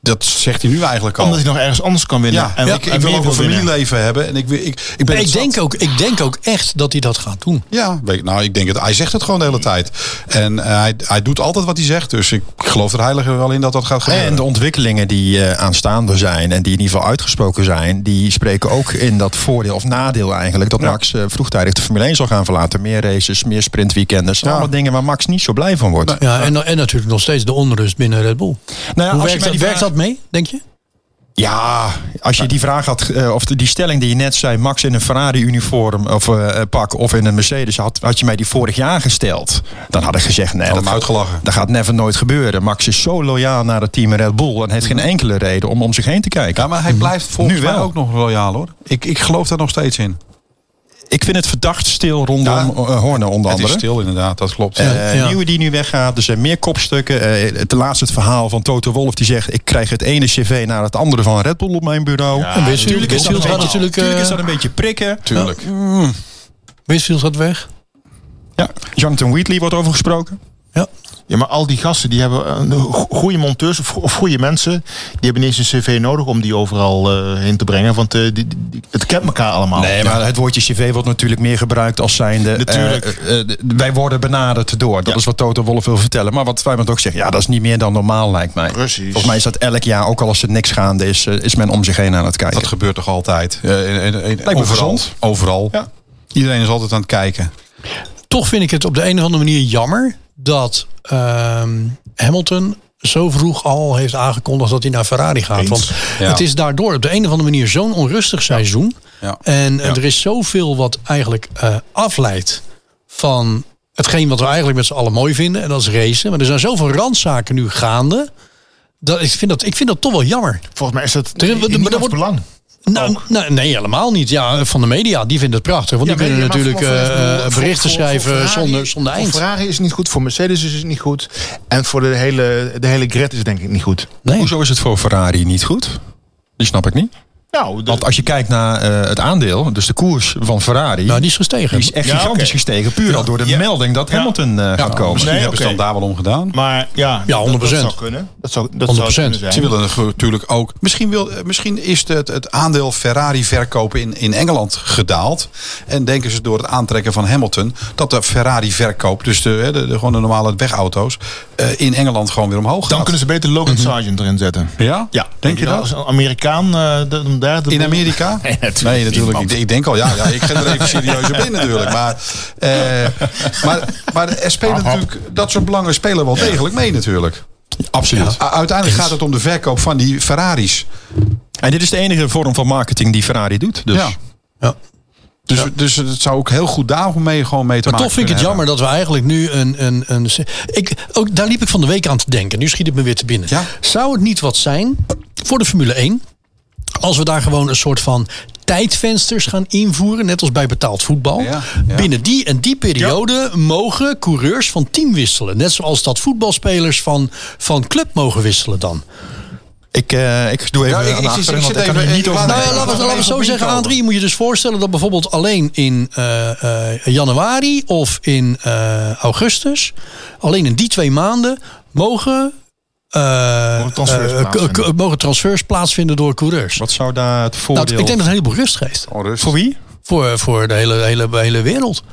Speaker 4: Dat zegt hij nu eigenlijk al.
Speaker 3: Omdat hij nog ergens anders kan winnen.
Speaker 4: ja,
Speaker 3: en,
Speaker 4: ik, ik
Speaker 3: en
Speaker 4: wil
Speaker 3: meer
Speaker 4: ook een
Speaker 3: winnen.
Speaker 4: familieleven hebben. En ik, wil- ik, ik ben
Speaker 2: ik,
Speaker 4: het zat.
Speaker 2: denk ook, ik denk ook echt dat hij dat gaat doen.
Speaker 4: Ja, weet, ik- nou, ik denk het. Hij zegt het gewoon de hele tijd. En eh, hij, hij doet altijd wat hij zegt. Dus ik geloof er heilige wel in dat dat gaat gebeuren.
Speaker 5: En de ontwikkelingen die eh, aanstaande zijn en die in ieder geval uitgesproken zijn, die spreken ook in dat voordeel of nadeel eigenlijk dat Max eh, vroegtijdig de Formule 1 zal gaan verlaten. Meer races, meer sprintweekenders, allemaal dingen waar Max niet zo blij van wordt.
Speaker 2: Ja, en, en natuurlijk nog steeds de onrust binnen Red Bull.
Speaker 5: Nou ja,
Speaker 2: Hoe
Speaker 5: als je
Speaker 2: werkt
Speaker 5: mij
Speaker 2: dat,
Speaker 5: die
Speaker 2: werkt
Speaker 5: vraag-
Speaker 2: dat mee, denk je?
Speaker 5: Ja, als je die vraag had, eh, of die stelling die je net zei, Max in een Ferrari-uniform of eh, eh, pak of in een Mercedes, had, had je mij die vorig jaar gesteld, dan had ik gezegd, nee,
Speaker 4: Had
Speaker 5: dat,
Speaker 4: hem uitgelachen.
Speaker 5: dat gaat never nooit gebeuren. Max is zo loyaal naar het team Red Bull en heeft geen enkele reden om om zich heen te kijken.
Speaker 4: Mm-hmm. Ja, maar hij blijft volgens
Speaker 5: Nu
Speaker 4: mij
Speaker 5: wel.
Speaker 4: ook nog loyaal hoor. Ik, ik geloof daar nog steeds in.
Speaker 5: Ik vind het verdacht stil rondom
Speaker 4: Ja.
Speaker 5: eh, Horner onder
Speaker 4: Het is
Speaker 5: andere.
Speaker 4: stil inderdaad, dat klopt.
Speaker 5: Eh,
Speaker 2: Ja.
Speaker 5: Nieuwe die nu weggaat, er zijn meer kopstukken. Eh, het laatste het verhaal van Toto Wolff die zegt... ik krijg het ene cv naar het andere van Red Bull op mijn bureau.
Speaker 2: En Winsfield,
Speaker 5: Tuurlijk is, dat een
Speaker 2: Winsfield gaat
Speaker 5: beetje,
Speaker 2: natuurlijk eh,
Speaker 5: tuurlijk is dat een beetje prikken.
Speaker 4: Tuurlijk.
Speaker 2: Winsfield gaat weg.
Speaker 5: Ja, Jonathan Wheatley wordt over gesproken.
Speaker 2: Ja.
Speaker 3: Ja, maar al die gasten die hebben eh, go- goede monteurs of, of goede mensen. Die hebben niet eens een cv nodig om die overal eh, heen te brengen. Want eh, die, die- die- het kent elkaar allemaal.
Speaker 5: Nee, maar het woordje cv wordt natuurlijk meer gebruikt als zijnde... eh,
Speaker 3: Natuurlijk.
Speaker 5: eh, eh, wij worden benaderd door. Dat
Speaker 3: Ja.
Speaker 5: is wat Toto Wolff wil vertellen. Maar wat Feyenoord ook zegt, ja, dat is niet meer dan normaal lijkt mij.
Speaker 3: Precies.
Speaker 5: Volgens mij is dat elk jaar, ook al als er niks gaande is... eh, is men om zich heen aan het kijken.
Speaker 4: Dat gebeurt toch altijd? Eh, en- en- en-
Speaker 5: me
Speaker 4: overal.
Speaker 5: gezond.
Speaker 4: Overal.
Speaker 5: Ja.
Speaker 4: Iedereen is altijd aan het kijken.
Speaker 2: Toch vind ik het op de een of andere manier jammer dat ehm, Hamilton zo vroeg al heeft aangekondigd dat hij naar Ferrari gaat.
Speaker 4: Eens.
Speaker 2: Want
Speaker 4: Ja.
Speaker 2: het is daardoor op de een of andere manier zo'n onrustig seizoen.
Speaker 4: Ja.
Speaker 2: En
Speaker 4: Ja.
Speaker 2: er is zoveel wat eigenlijk eh, afleidt van hetgeen wat we eigenlijk met z'n allen mooi vinden. En dat is racen. Maar er zijn zoveel randzaken nu gaande. Dat, ik, vind dat, ik vind dat toch wel jammer.
Speaker 3: Volgens mij is dat
Speaker 2: Er-
Speaker 3: in
Speaker 2: maar
Speaker 3: niemands
Speaker 2: er wordt-
Speaker 3: belang.
Speaker 2: Nou, nou, nee, helemaal niet. Ja, van de media, die vinden het prachtig. Want
Speaker 3: Ja,
Speaker 2: die
Speaker 3: maar-
Speaker 2: kunnen
Speaker 3: ja, maar
Speaker 2: natuurlijk
Speaker 3: voor- voor-
Speaker 2: eh,
Speaker 3: voor- voor-
Speaker 2: berichten
Speaker 3: voor- voor
Speaker 2: schrijven
Speaker 3: Ferrari-
Speaker 2: zonder, zonder
Speaker 3: voor
Speaker 2: eind.
Speaker 3: Ferrari is het niet goed, voor Mercedes is het niet goed. En voor de hele, de hele grid is het denk ik niet goed.
Speaker 2: Nee.
Speaker 5: Hoezo is het voor Ferrari niet goed? Die snap ik niet.
Speaker 3: Nou,
Speaker 5: Want als je kijkt naar eh, het aandeel, dus de koers van Ferrari,
Speaker 2: Nou,
Speaker 5: die,
Speaker 2: die is gestegen.
Speaker 5: is echt
Speaker 3: Ja,
Speaker 5: gigantisch
Speaker 3: oké.
Speaker 5: gestegen. Puur al door de
Speaker 3: Ja.
Speaker 5: melding dat
Speaker 3: Ja.
Speaker 5: Hamilton eh, gaat komen.
Speaker 4: Misschien
Speaker 3: Nee,
Speaker 4: hebben ze
Speaker 3: oké.
Speaker 4: dan daar wel om gedaan.
Speaker 3: maar ja,
Speaker 2: Ja,
Speaker 3: dat- Dat,
Speaker 2: 100%.
Speaker 3: zou kunnen. Dat zou, dat zou
Speaker 2: 100%.
Speaker 3: kunnen zijn.
Speaker 4: Ze willen natuurlijk ook. Misschien, wil, eh, misschien is het, het aandeel Ferrari verkopen in, in Engeland gedaald. En denken ze door het aantrekken van Hamilton dat de Ferrari verkoop, dus de, hè, de, de- gewoon de normale wegauto's, eh, in Engeland gewoon weer omhoog gaat.
Speaker 3: Dan kunnen ze beter Logan Sargent erin zetten.
Speaker 4: Ja?
Speaker 3: Ja, nou,
Speaker 4: Denk je dat?
Speaker 3: Als een Amerikaan eh, de- om daar de
Speaker 4: In
Speaker 3: boel-
Speaker 4: Amerika?
Speaker 3: <laughs> Nee, natuurlijk
Speaker 4: natuurlijk. Ik,
Speaker 3: niet,
Speaker 4: ik denk al, ja, ja, ik ga er even serieus op
Speaker 3: <laughs>
Speaker 4: in natuurlijk. Maar, eh, maar, maar er spelen
Speaker 3: Hap, hap.
Speaker 4: natuurlijk, dat soort belangen spelen wel degelijk mee natuurlijk.
Speaker 5: Absoluut.
Speaker 4: U- Uiteindelijk gaat het om de verkoop van die Ferraris.
Speaker 5: En dit is de enige vorm van marketing die Ferrari doet. Dus.
Speaker 4: Ja.
Speaker 2: Ja.
Speaker 4: Dus, dus het zou ook heel goed daarmee gewoon mee te
Speaker 2: Maar
Speaker 4: maken
Speaker 2: toch vind ik het
Speaker 4: kunnen
Speaker 2: jammer dat we eigenlijk nu een. een, een ik, ook, daar liep ik van de week aan te denken. Nu schiet het me weer te binnen.
Speaker 4: Ja.
Speaker 2: Zou het niet wat zijn voor de Formule 1? Als we daar gewoon een soort van tijdvensters gaan invoeren, net als bij betaald voetbal.
Speaker 4: Ja, ja.
Speaker 2: Binnen die en die periode mogen coureurs van team wisselen. Net zoals dat voetbalspelers van, van club mogen wisselen dan.
Speaker 5: Ik, eh, ik doe even
Speaker 4: Ja, ik-
Speaker 5: aan
Speaker 4: ik zit-
Speaker 5: de
Speaker 4: ik
Speaker 5: achterin,
Speaker 4: zit
Speaker 5: want ik kan
Speaker 4: even-
Speaker 5: hier niet
Speaker 4: ik
Speaker 5: over
Speaker 4: laat-
Speaker 2: Nou
Speaker 5: nadenken.
Speaker 2: ja, laten we laten
Speaker 4: laten we
Speaker 2: we het
Speaker 4: even
Speaker 2: zo
Speaker 4: op
Speaker 2: zeggen,
Speaker 4: inkomen.
Speaker 2: Adrie. Je moet je dus voorstellen dat bijvoorbeeld alleen in eh, eh, januari of in eh, augustus, alleen in die twee maanden, mogen, eh,
Speaker 3: Mogen transfers
Speaker 2: eh, k-
Speaker 3: plaatsvinden.
Speaker 2: k- mogen transfers plaatsvinden door coureurs.
Speaker 5: Wat zou daar het
Speaker 2: Nou,
Speaker 5: voordeel...
Speaker 2: ik denk dat het een heleboel rust geeft
Speaker 4: Onrust.
Speaker 5: Voor wie?
Speaker 2: voor, voor de hele, hele, hele wereld,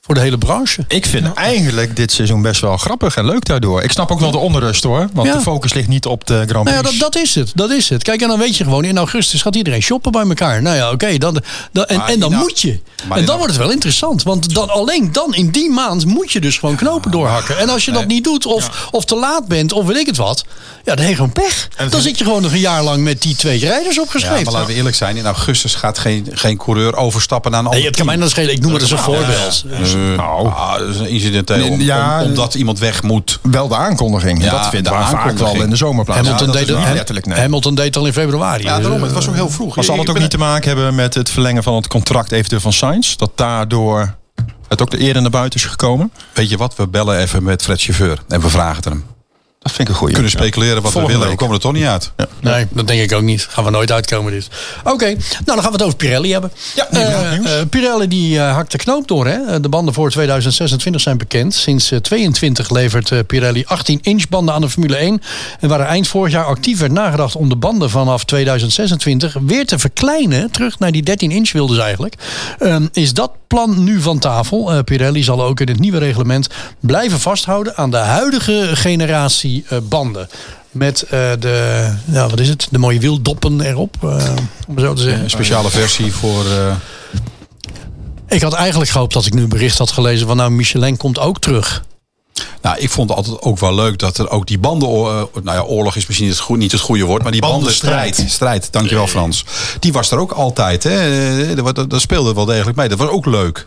Speaker 2: voor de hele branche.
Speaker 5: Ik vind eigenlijk dit seizoen best wel grappig en leuk daardoor. Ik snap ook wel de onrust hoor. Want
Speaker 2: Ja.
Speaker 5: de focus ligt niet op de Grand Prix.
Speaker 2: Nou ja, dat, dat is het. Dat is het. Kijk, en dan weet je gewoon, in augustus gaat iedereen shoppen bij elkaar. Nou ja, oké, dan, dan, en,
Speaker 4: Maar
Speaker 2: en dan
Speaker 4: in au-
Speaker 2: moet je.
Speaker 4: maar
Speaker 2: En
Speaker 4: in
Speaker 2: dan
Speaker 4: au-
Speaker 2: wordt het wel interessant. Want dan, alleen dan, in die maand, moet je dus gewoon knopen doorhakken. En als je dat niet doet, of, of te laat bent, of weet ik het wat. Ja, dan heb je gewoon pech. Dan zit je gewoon nog een jaar lang met die twee rijders
Speaker 4: Ja, maar
Speaker 2: opgeschreven.
Speaker 4: laten we eerlijk zijn, in augustus gaat geen, geen coureur overstappen naar een
Speaker 2: Nee,
Speaker 4: ander
Speaker 2: het kan mij
Speaker 4: team.
Speaker 2: dan schelen. Ik noem het als een voorbeeld.
Speaker 4: Eh, ah, dat is een incidenteel. om-
Speaker 5: Nee, ja,
Speaker 4: om- omdat iemand weg moet.
Speaker 5: Wel de aankondiging.
Speaker 4: Ja,
Speaker 5: dat vindt
Speaker 4: de
Speaker 5: waar vaak
Speaker 4: aankondiging.
Speaker 5: wel in de zomer plaats.
Speaker 2: Hamilton,
Speaker 5: Ja, dat
Speaker 2: deed
Speaker 5: is
Speaker 2: al-
Speaker 5: niet
Speaker 2: Ham-
Speaker 5: letterlijk, nee.
Speaker 2: Hamilton deed al in februari.
Speaker 4: Ja, daarom. Het was ook heel vroeg.
Speaker 5: Maar zal
Speaker 4: Ik- ik
Speaker 5: het ook
Speaker 4: ben-
Speaker 5: niet te maken hebben met het verlengen van het contract eventueel van Sainz? Dat daardoor het ook de eerder naar buiten is gekomen?
Speaker 4: Weet je wat? We bellen even met Fred Chauffeur en we vragen het hem.
Speaker 5: Dat vind ik een goede.
Speaker 4: We kunnen speculeren wat
Speaker 5: Volgende
Speaker 4: we willen.
Speaker 5: week.
Speaker 4: We komen er toch niet uit.
Speaker 2: Nee, dat denk ik ook niet. Gaan we nooit uitkomen dit. Oké, nou dan gaan we het over Pirelli hebben. Eh, Ja, Pirelli die eh, hakt de knoop door. Hè? Eh, De banden voor 2026 zijn bekend. Sinds eh, 22 levert eh, Pirelli 18-inch banden aan de Formule 1. En waar er eind vorig jaar actief werd nagedacht om de banden vanaf 2026 weer te verkleinen, terug naar die 13-inch wilden ze eigenlijk, ehm, is dat plan nu van tafel. Eh, Pirelli zal ook in het nieuwe reglement blijven vasthouden aan de huidige generatie eh, banden. Met eh, de, nou, wat is het? De mooie wieldoppen erop. eh, om het zo te zeggen.
Speaker 4: Een speciale versie voor... eh,
Speaker 2: Ik had eigenlijk gehoopt dat ik nu een bericht had gelezen van nou Michelin komt ook terug.
Speaker 4: Nou, ik vond altijd ook wel leuk dat er ook die banden... eh, nou ja, oorlog is misschien het goe- niet het goede woord, maar die
Speaker 3: Bandenstrijd.
Speaker 4: bandenstrijd. Strijd, dankjewel Frans. Die was er ook altijd. Hè? Eh, Dat, dat- dat speelde wel degelijk mee. Dat was ook leuk.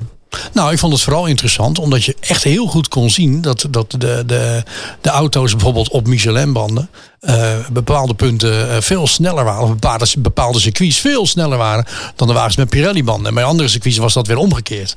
Speaker 2: Nou, ik vond het vooral interessant omdat je echt heel goed kon zien dat, dat de, de, de auto's bijvoorbeeld op Michelin-banden eh, bepaalde punten eh, veel sneller waren. Of bepaalde, bepaalde circuits veel sneller waren dan de wagens met Pirelli-banden. En bij andere circuits was dat weer omgekeerd.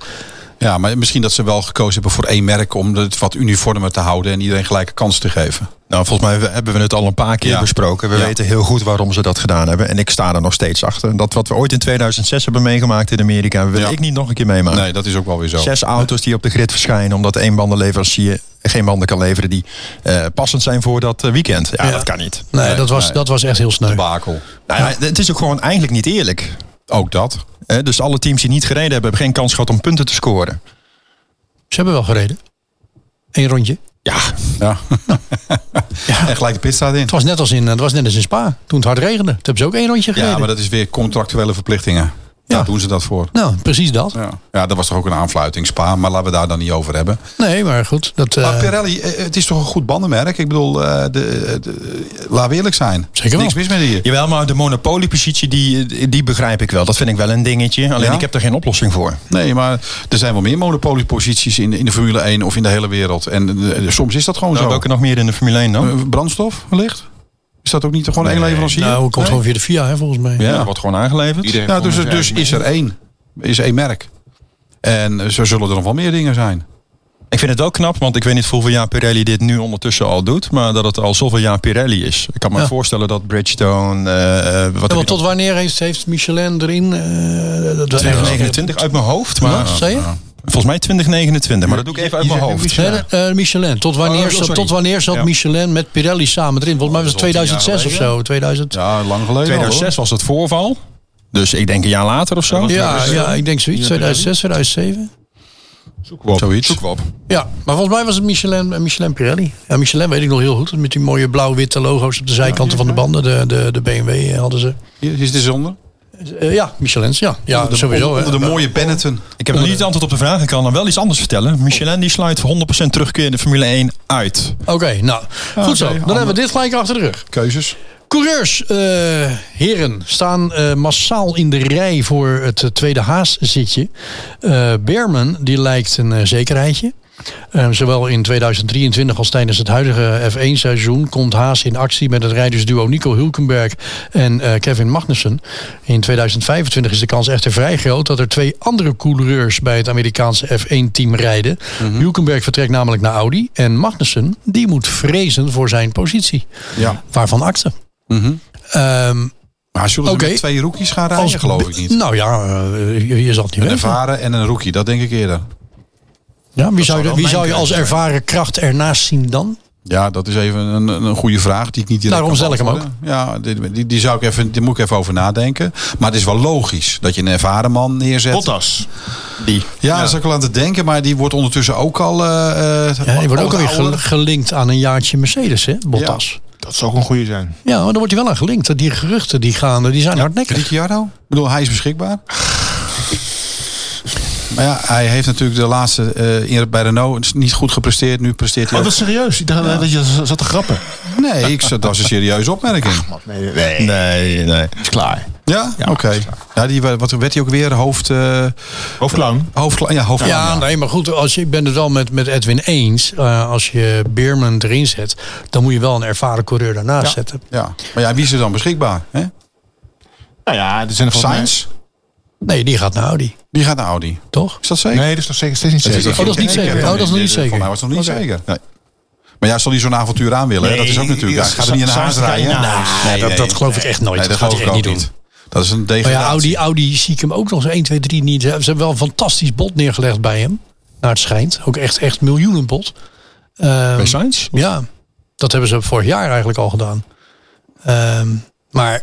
Speaker 4: Ja, maar misschien dat ze wel gekozen hebben voor één merk... om het wat uniformer te houden en iedereen gelijke kans te geven.
Speaker 5: Nou, volgens mij hebben we het al een paar keer
Speaker 4: Ja.
Speaker 5: besproken. We
Speaker 4: Ja.
Speaker 5: weten heel goed waarom ze dat gedaan hebben. En ik sta er nog steeds achter. Dat wat we ooit in 2006 hebben meegemaakt in Amerika, wil
Speaker 4: Ja.
Speaker 5: ik niet nog een keer meemaken.
Speaker 4: Nee, dat is ook wel weer zo.
Speaker 5: Zes auto's die op de grid verschijnen omdat één bandenleverancier geen banden kan leveren die eh, passend zijn voor dat eh, weekend. Ja,
Speaker 2: Ja.
Speaker 5: dat kan niet.
Speaker 2: Nee,
Speaker 4: Nee,
Speaker 2: dat, was,
Speaker 4: nee.
Speaker 2: dat was echt heel sneu.
Speaker 4: Bakel.
Speaker 5: Nou ja, het is ook gewoon eigenlijk niet eerlijk.
Speaker 4: Ook dat.
Speaker 5: Hè, dus alle teams die niet gereden hebben, hebben geen kans gehad om punten te scoren.
Speaker 2: Ze hebben wel gereden. Eén rondje.
Speaker 5: Ja,
Speaker 4: <laughs> Ja. En gelijk de pit staat in.
Speaker 2: Het was net als in, het was net als in Spa, toen het hard regende. Toen hebben ze ook één rondje gereden.
Speaker 4: Ja, maar dat is weer contractuele verplichtingen. Daar doen ze dat voor.
Speaker 2: Nou, precies dat.
Speaker 4: Ja. ja, dat was toch ook een aanfluiting, Spa. Maar laten we daar dan niet over hebben.
Speaker 2: Nee, maar goed. Dat, eh,
Speaker 4: Maar Pirelli, eh, het is toch een goed bandenmerk? Ik bedoel, eh, de, de, laten we eerlijk zijn.
Speaker 2: Zeker wel.
Speaker 4: Niks mis met hier.
Speaker 5: Jawel, maar de monopoliepositie, die, die begrijp ik wel. Dat vind ik wel een dingetje. Alleen
Speaker 4: Ja?
Speaker 5: ik heb er geen oplossing voor.
Speaker 4: Nee, maar er zijn wel meer monopolieposities in, in de Formule 1 of in de hele wereld. En eh, soms is dat gewoon
Speaker 5: Nou,
Speaker 4: zo.
Speaker 5: welke nog meer in de Formule 1 dan?
Speaker 4: Eh, brandstof wellicht? Is dat ook niet gewoon één
Speaker 5: Nee,
Speaker 4: leverancier?
Speaker 2: nou, komt
Speaker 4: Nee?
Speaker 2: gewoon via de VIA, hè, volgens mij.
Speaker 5: Ja,
Speaker 4: ja.
Speaker 5: dat wordt gewoon aangeleverd.
Speaker 7: Iedereen
Speaker 4: Nou, dus
Speaker 7: kon het
Speaker 4: dus
Speaker 7: eigenlijk
Speaker 4: is er één. Is één merk. En eh, zo zullen er nog wel meer dingen zijn.
Speaker 5: Ik vind het wel knap, want ik weet niet voor hoeveel jaar Pirelli dit nu ondertussen al doet. Maar dat het al zoveel jaar Pirelli is. Ik kan me
Speaker 2: Ja.
Speaker 5: voorstellen dat Bridgestone... eh, eh, wat
Speaker 2: Ja,
Speaker 5: heb
Speaker 2: want
Speaker 5: je
Speaker 2: tot
Speaker 5: dan?
Speaker 2: wanneer heeft, heeft Michelin erin? eh, dat- dat-
Speaker 5: 2029 uit mijn hoofd. Maar,
Speaker 2: Wat zei je?
Speaker 5: Volgens mij 2029, maar dat doe ik even uit mijn hoofd.
Speaker 2: Nee, eh, Michelin. Tot wanneer,
Speaker 5: Oh,
Speaker 2: zat-
Speaker 5: sorry.
Speaker 2: tot wanneer zat
Speaker 5: Ja.
Speaker 2: Michelin met Pirelli samen erin? Volgens mij was het
Speaker 4: dat is al
Speaker 2: 2006
Speaker 4: tien
Speaker 2: of
Speaker 4: jaar
Speaker 2: zo. 2000.
Speaker 4: Ja, lang geleden
Speaker 5: 2006 was het voorval. Dus ik denk een jaar later of zo.
Speaker 2: Ja, ja, ik denk zoiets. 2006, 2007.
Speaker 4: al. Zoiets.
Speaker 2: Ja, maar volgens mij was het Michelin, eh, Michelin Pirelli. Ja, Michelin weet ik nog heel goed. Met die mooie blauw-witte logo's op de zijkanten van de banden. De, de, de BMW hadden ze.
Speaker 4: Hier is de zonde.
Speaker 2: Eh, ja, Michelins, ja. Ja, sowieso.
Speaker 4: Onder,
Speaker 2: hè.
Speaker 4: de mooie Benetton.
Speaker 5: Ik heb nog niet het antwoord op de vraag. Ik kan dan wel iets anders vertellen. Michelin die sluit voor 100% terugkeer in de Formule 1 uit.
Speaker 2: Oké, nou, goed zo. Dan
Speaker 4: ander-
Speaker 2: hebben we dit gelijk achter de rug.
Speaker 4: Keuzes.
Speaker 2: Coureurs, eh, heren, staan eh, massaal in de rij voor het eh, tweede Haas-zitje. Eh Berman, die lijkt een eh, zekerheidje. Eh, zowel in 2023 als tijdens het huidige F1-seizoen komt Haas in actie met het rijdersduo Nico Hulkenberg en eh, Kevin Magnussen. In 2025 is de kans echter vrij groot dat er twee andere coureurs bij het Amerikaanse F1-team rijden. Hulkenberg vertrekt namelijk naar Audi en Magnussen die moet vrezen voor zijn positie.
Speaker 4: Ja.
Speaker 2: Waarvan akte. Ehm,
Speaker 4: Maar zullen ze
Speaker 2: Oké.
Speaker 4: met twee rookies gaan rijden? geloof ik niet.
Speaker 2: Nou ja, eh, je, je zal het niet
Speaker 4: Een
Speaker 2: weten.
Speaker 4: ervaren en een rookie, dat denk ik eerder.
Speaker 2: Ja, wie zou, je,
Speaker 5: wel
Speaker 2: wie
Speaker 5: mijn
Speaker 2: zou je als
Speaker 5: keuze
Speaker 2: ervaren kracht ernaast zien dan?
Speaker 4: Ja, dat is even een, een goede vraag die ik niet direct
Speaker 2: Daarom
Speaker 4: kan
Speaker 2: stel ik hem
Speaker 4: beantwoorden. Ja, die, die, die zou ik even, die moet ik even over nadenken. Maar het is wel logisch dat je een ervaren man neerzet.
Speaker 3: Bottas.
Speaker 5: Die.
Speaker 4: Ja, dat is ook al aan het denken, maar die wordt ondertussen ook al... eh, eh,
Speaker 2: Ja, je wordt ook alweer
Speaker 4: ouder.
Speaker 2: gel- gelinkt aan een jaartje Mercedes, hè, Bottas.
Speaker 3: Dat zou ook een goede zijn.
Speaker 2: Ja, maar dan wordt hij wel aan gelinkt. Die geruchten die gaan, die zijn hardnekkig.
Speaker 4: Ricciardo? Ik bedoel, hij is beschikbaar. Maar ja, hij heeft natuurlijk de laatste eh, in- bij Renault niet goed gepresteerd. Nu presteert hij
Speaker 3: Oh,
Speaker 4: ook-
Speaker 3: dat is serieus. Ik dacht dat je zat te grappen.
Speaker 4: Nee, ik, dat is een serieuze opmerking.
Speaker 3: Nee, nee.
Speaker 5: Nee, nee.
Speaker 3: is klaar.
Speaker 4: Ja? Oké. Ja, die wa- wat werd hij ook weer? Hoofd... eh
Speaker 3: Hoofdclown.
Speaker 4: hoofd ja, hoofd
Speaker 2: Ja, nee, maar goed, als je, ik ben het wel met, met Edwin eens. Eh, als je Beerman erin zet, dan moet je wel een ervaren coureur daarnaast zetten.
Speaker 4: Ja, maar ja, wie is er dan beschikbaar? Hè?
Speaker 3: Nou ja, er zijn er volgens mij-
Speaker 4: Sainz?
Speaker 2: Nee, die gaat naar Audi,
Speaker 4: Die gaat naar Audi.
Speaker 2: toch?
Speaker 4: Is dat zeker?
Speaker 3: Nee, dat is nog zeker steeds niet zeker.
Speaker 2: Oh,
Speaker 3: <laughs>
Speaker 2: dat is niet zeker. Oh, dat is nog niet
Speaker 4: Voor mij
Speaker 2: zeker.
Speaker 4: was het nog niet zeker. Nee. Maar ja, zal hij zo'n avontuur aan willen? hè? dat is ook natuurlijk. Hij gaat er niet naar huis rijden.
Speaker 3: Nee,
Speaker 4: Nee,
Speaker 2: dat, dat geloof ik echt nooit. dat gaat hij echt niet doen.
Speaker 4: Dat is een
Speaker 2: Maar ja,
Speaker 4: degradatie.
Speaker 2: Audi, Audi zie ik hem ook nog eens 1, 2, 3 niet. Ze hebben wel een fantastisch bot neergelegd bij hem. Naar het schijnt. Ook echt, echt miljoenen bot. Ehm,
Speaker 5: Bij Sainz?
Speaker 2: ja, dat hebben ze vorig jaar eigenlijk al gedaan. Ehm, maar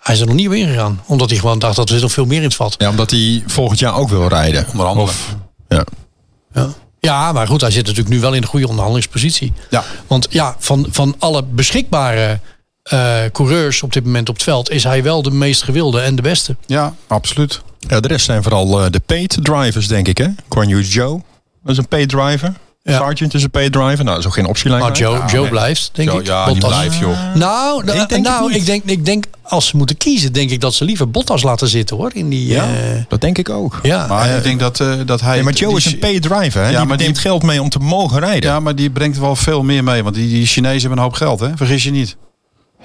Speaker 2: hij is er nog niet op ingegaan. Omdat hij gewoon dacht dat er zit nog veel meer in het vat.
Speaker 5: Ja, omdat hij volgend jaar ook wil rijden.
Speaker 4: Onder andere.
Speaker 5: Ja.
Speaker 2: Ja. ja, maar goed, hij zit natuurlijk nu wel in de goede onderhandelingspositie.
Speaker 4: Ja.
Speaker 2: Want ja, van, van alle beschikbare eh, coureurs op dit moment op het veld... is hij wel de meest gewilde en de beste.
Speaker 4: ja, absoluut.
Speaker 5: ja, de rest zijn vooral eh, de paid drivers, denk ik. hè. Quan Yu Joe, dat is een paid driver.
Speaker 2: Ja.
Speaker 5: Sargent is een paid driver. Nou, dat is ook geen optielijn.
Speaker 2: Maar Joe, Joe blijft, denk
Speaker 4: Joe,
Speaker 2: ik.
Speaker 4: ja, die blijft, joh.
Speaker 2: Nou, da-
Speaker 5: Ik denk het
Speaker 2: nou
Speaker 5: niet.
Speaker 2: ik, denk, ik denk als ze moeten kiezen, denk ik dat ze liever Bottas laten zitten hoor. In die,
Speaker 5: Ja,
Speaker 2: eh,
Speaker 5: dat denk ik ook.
Speaker 2: ja.
Speaker 4: Maar ik denk dat, eh, dat hij...
Speaker 5: Nee, maar Joe
Speaker 4: die-
Speaker 5: is een paid driver. Hè.
Speaker 4: Ja,
Speaker 5: die
Speaker 4: maar die-
Speaker 5: neemt geld mee om te mogen rijden.
Speaker 4: Ja, maar die brengt wel veel meer mee. Want die, die Chinezen hebben een hoop geld, hè? Vergis je niet.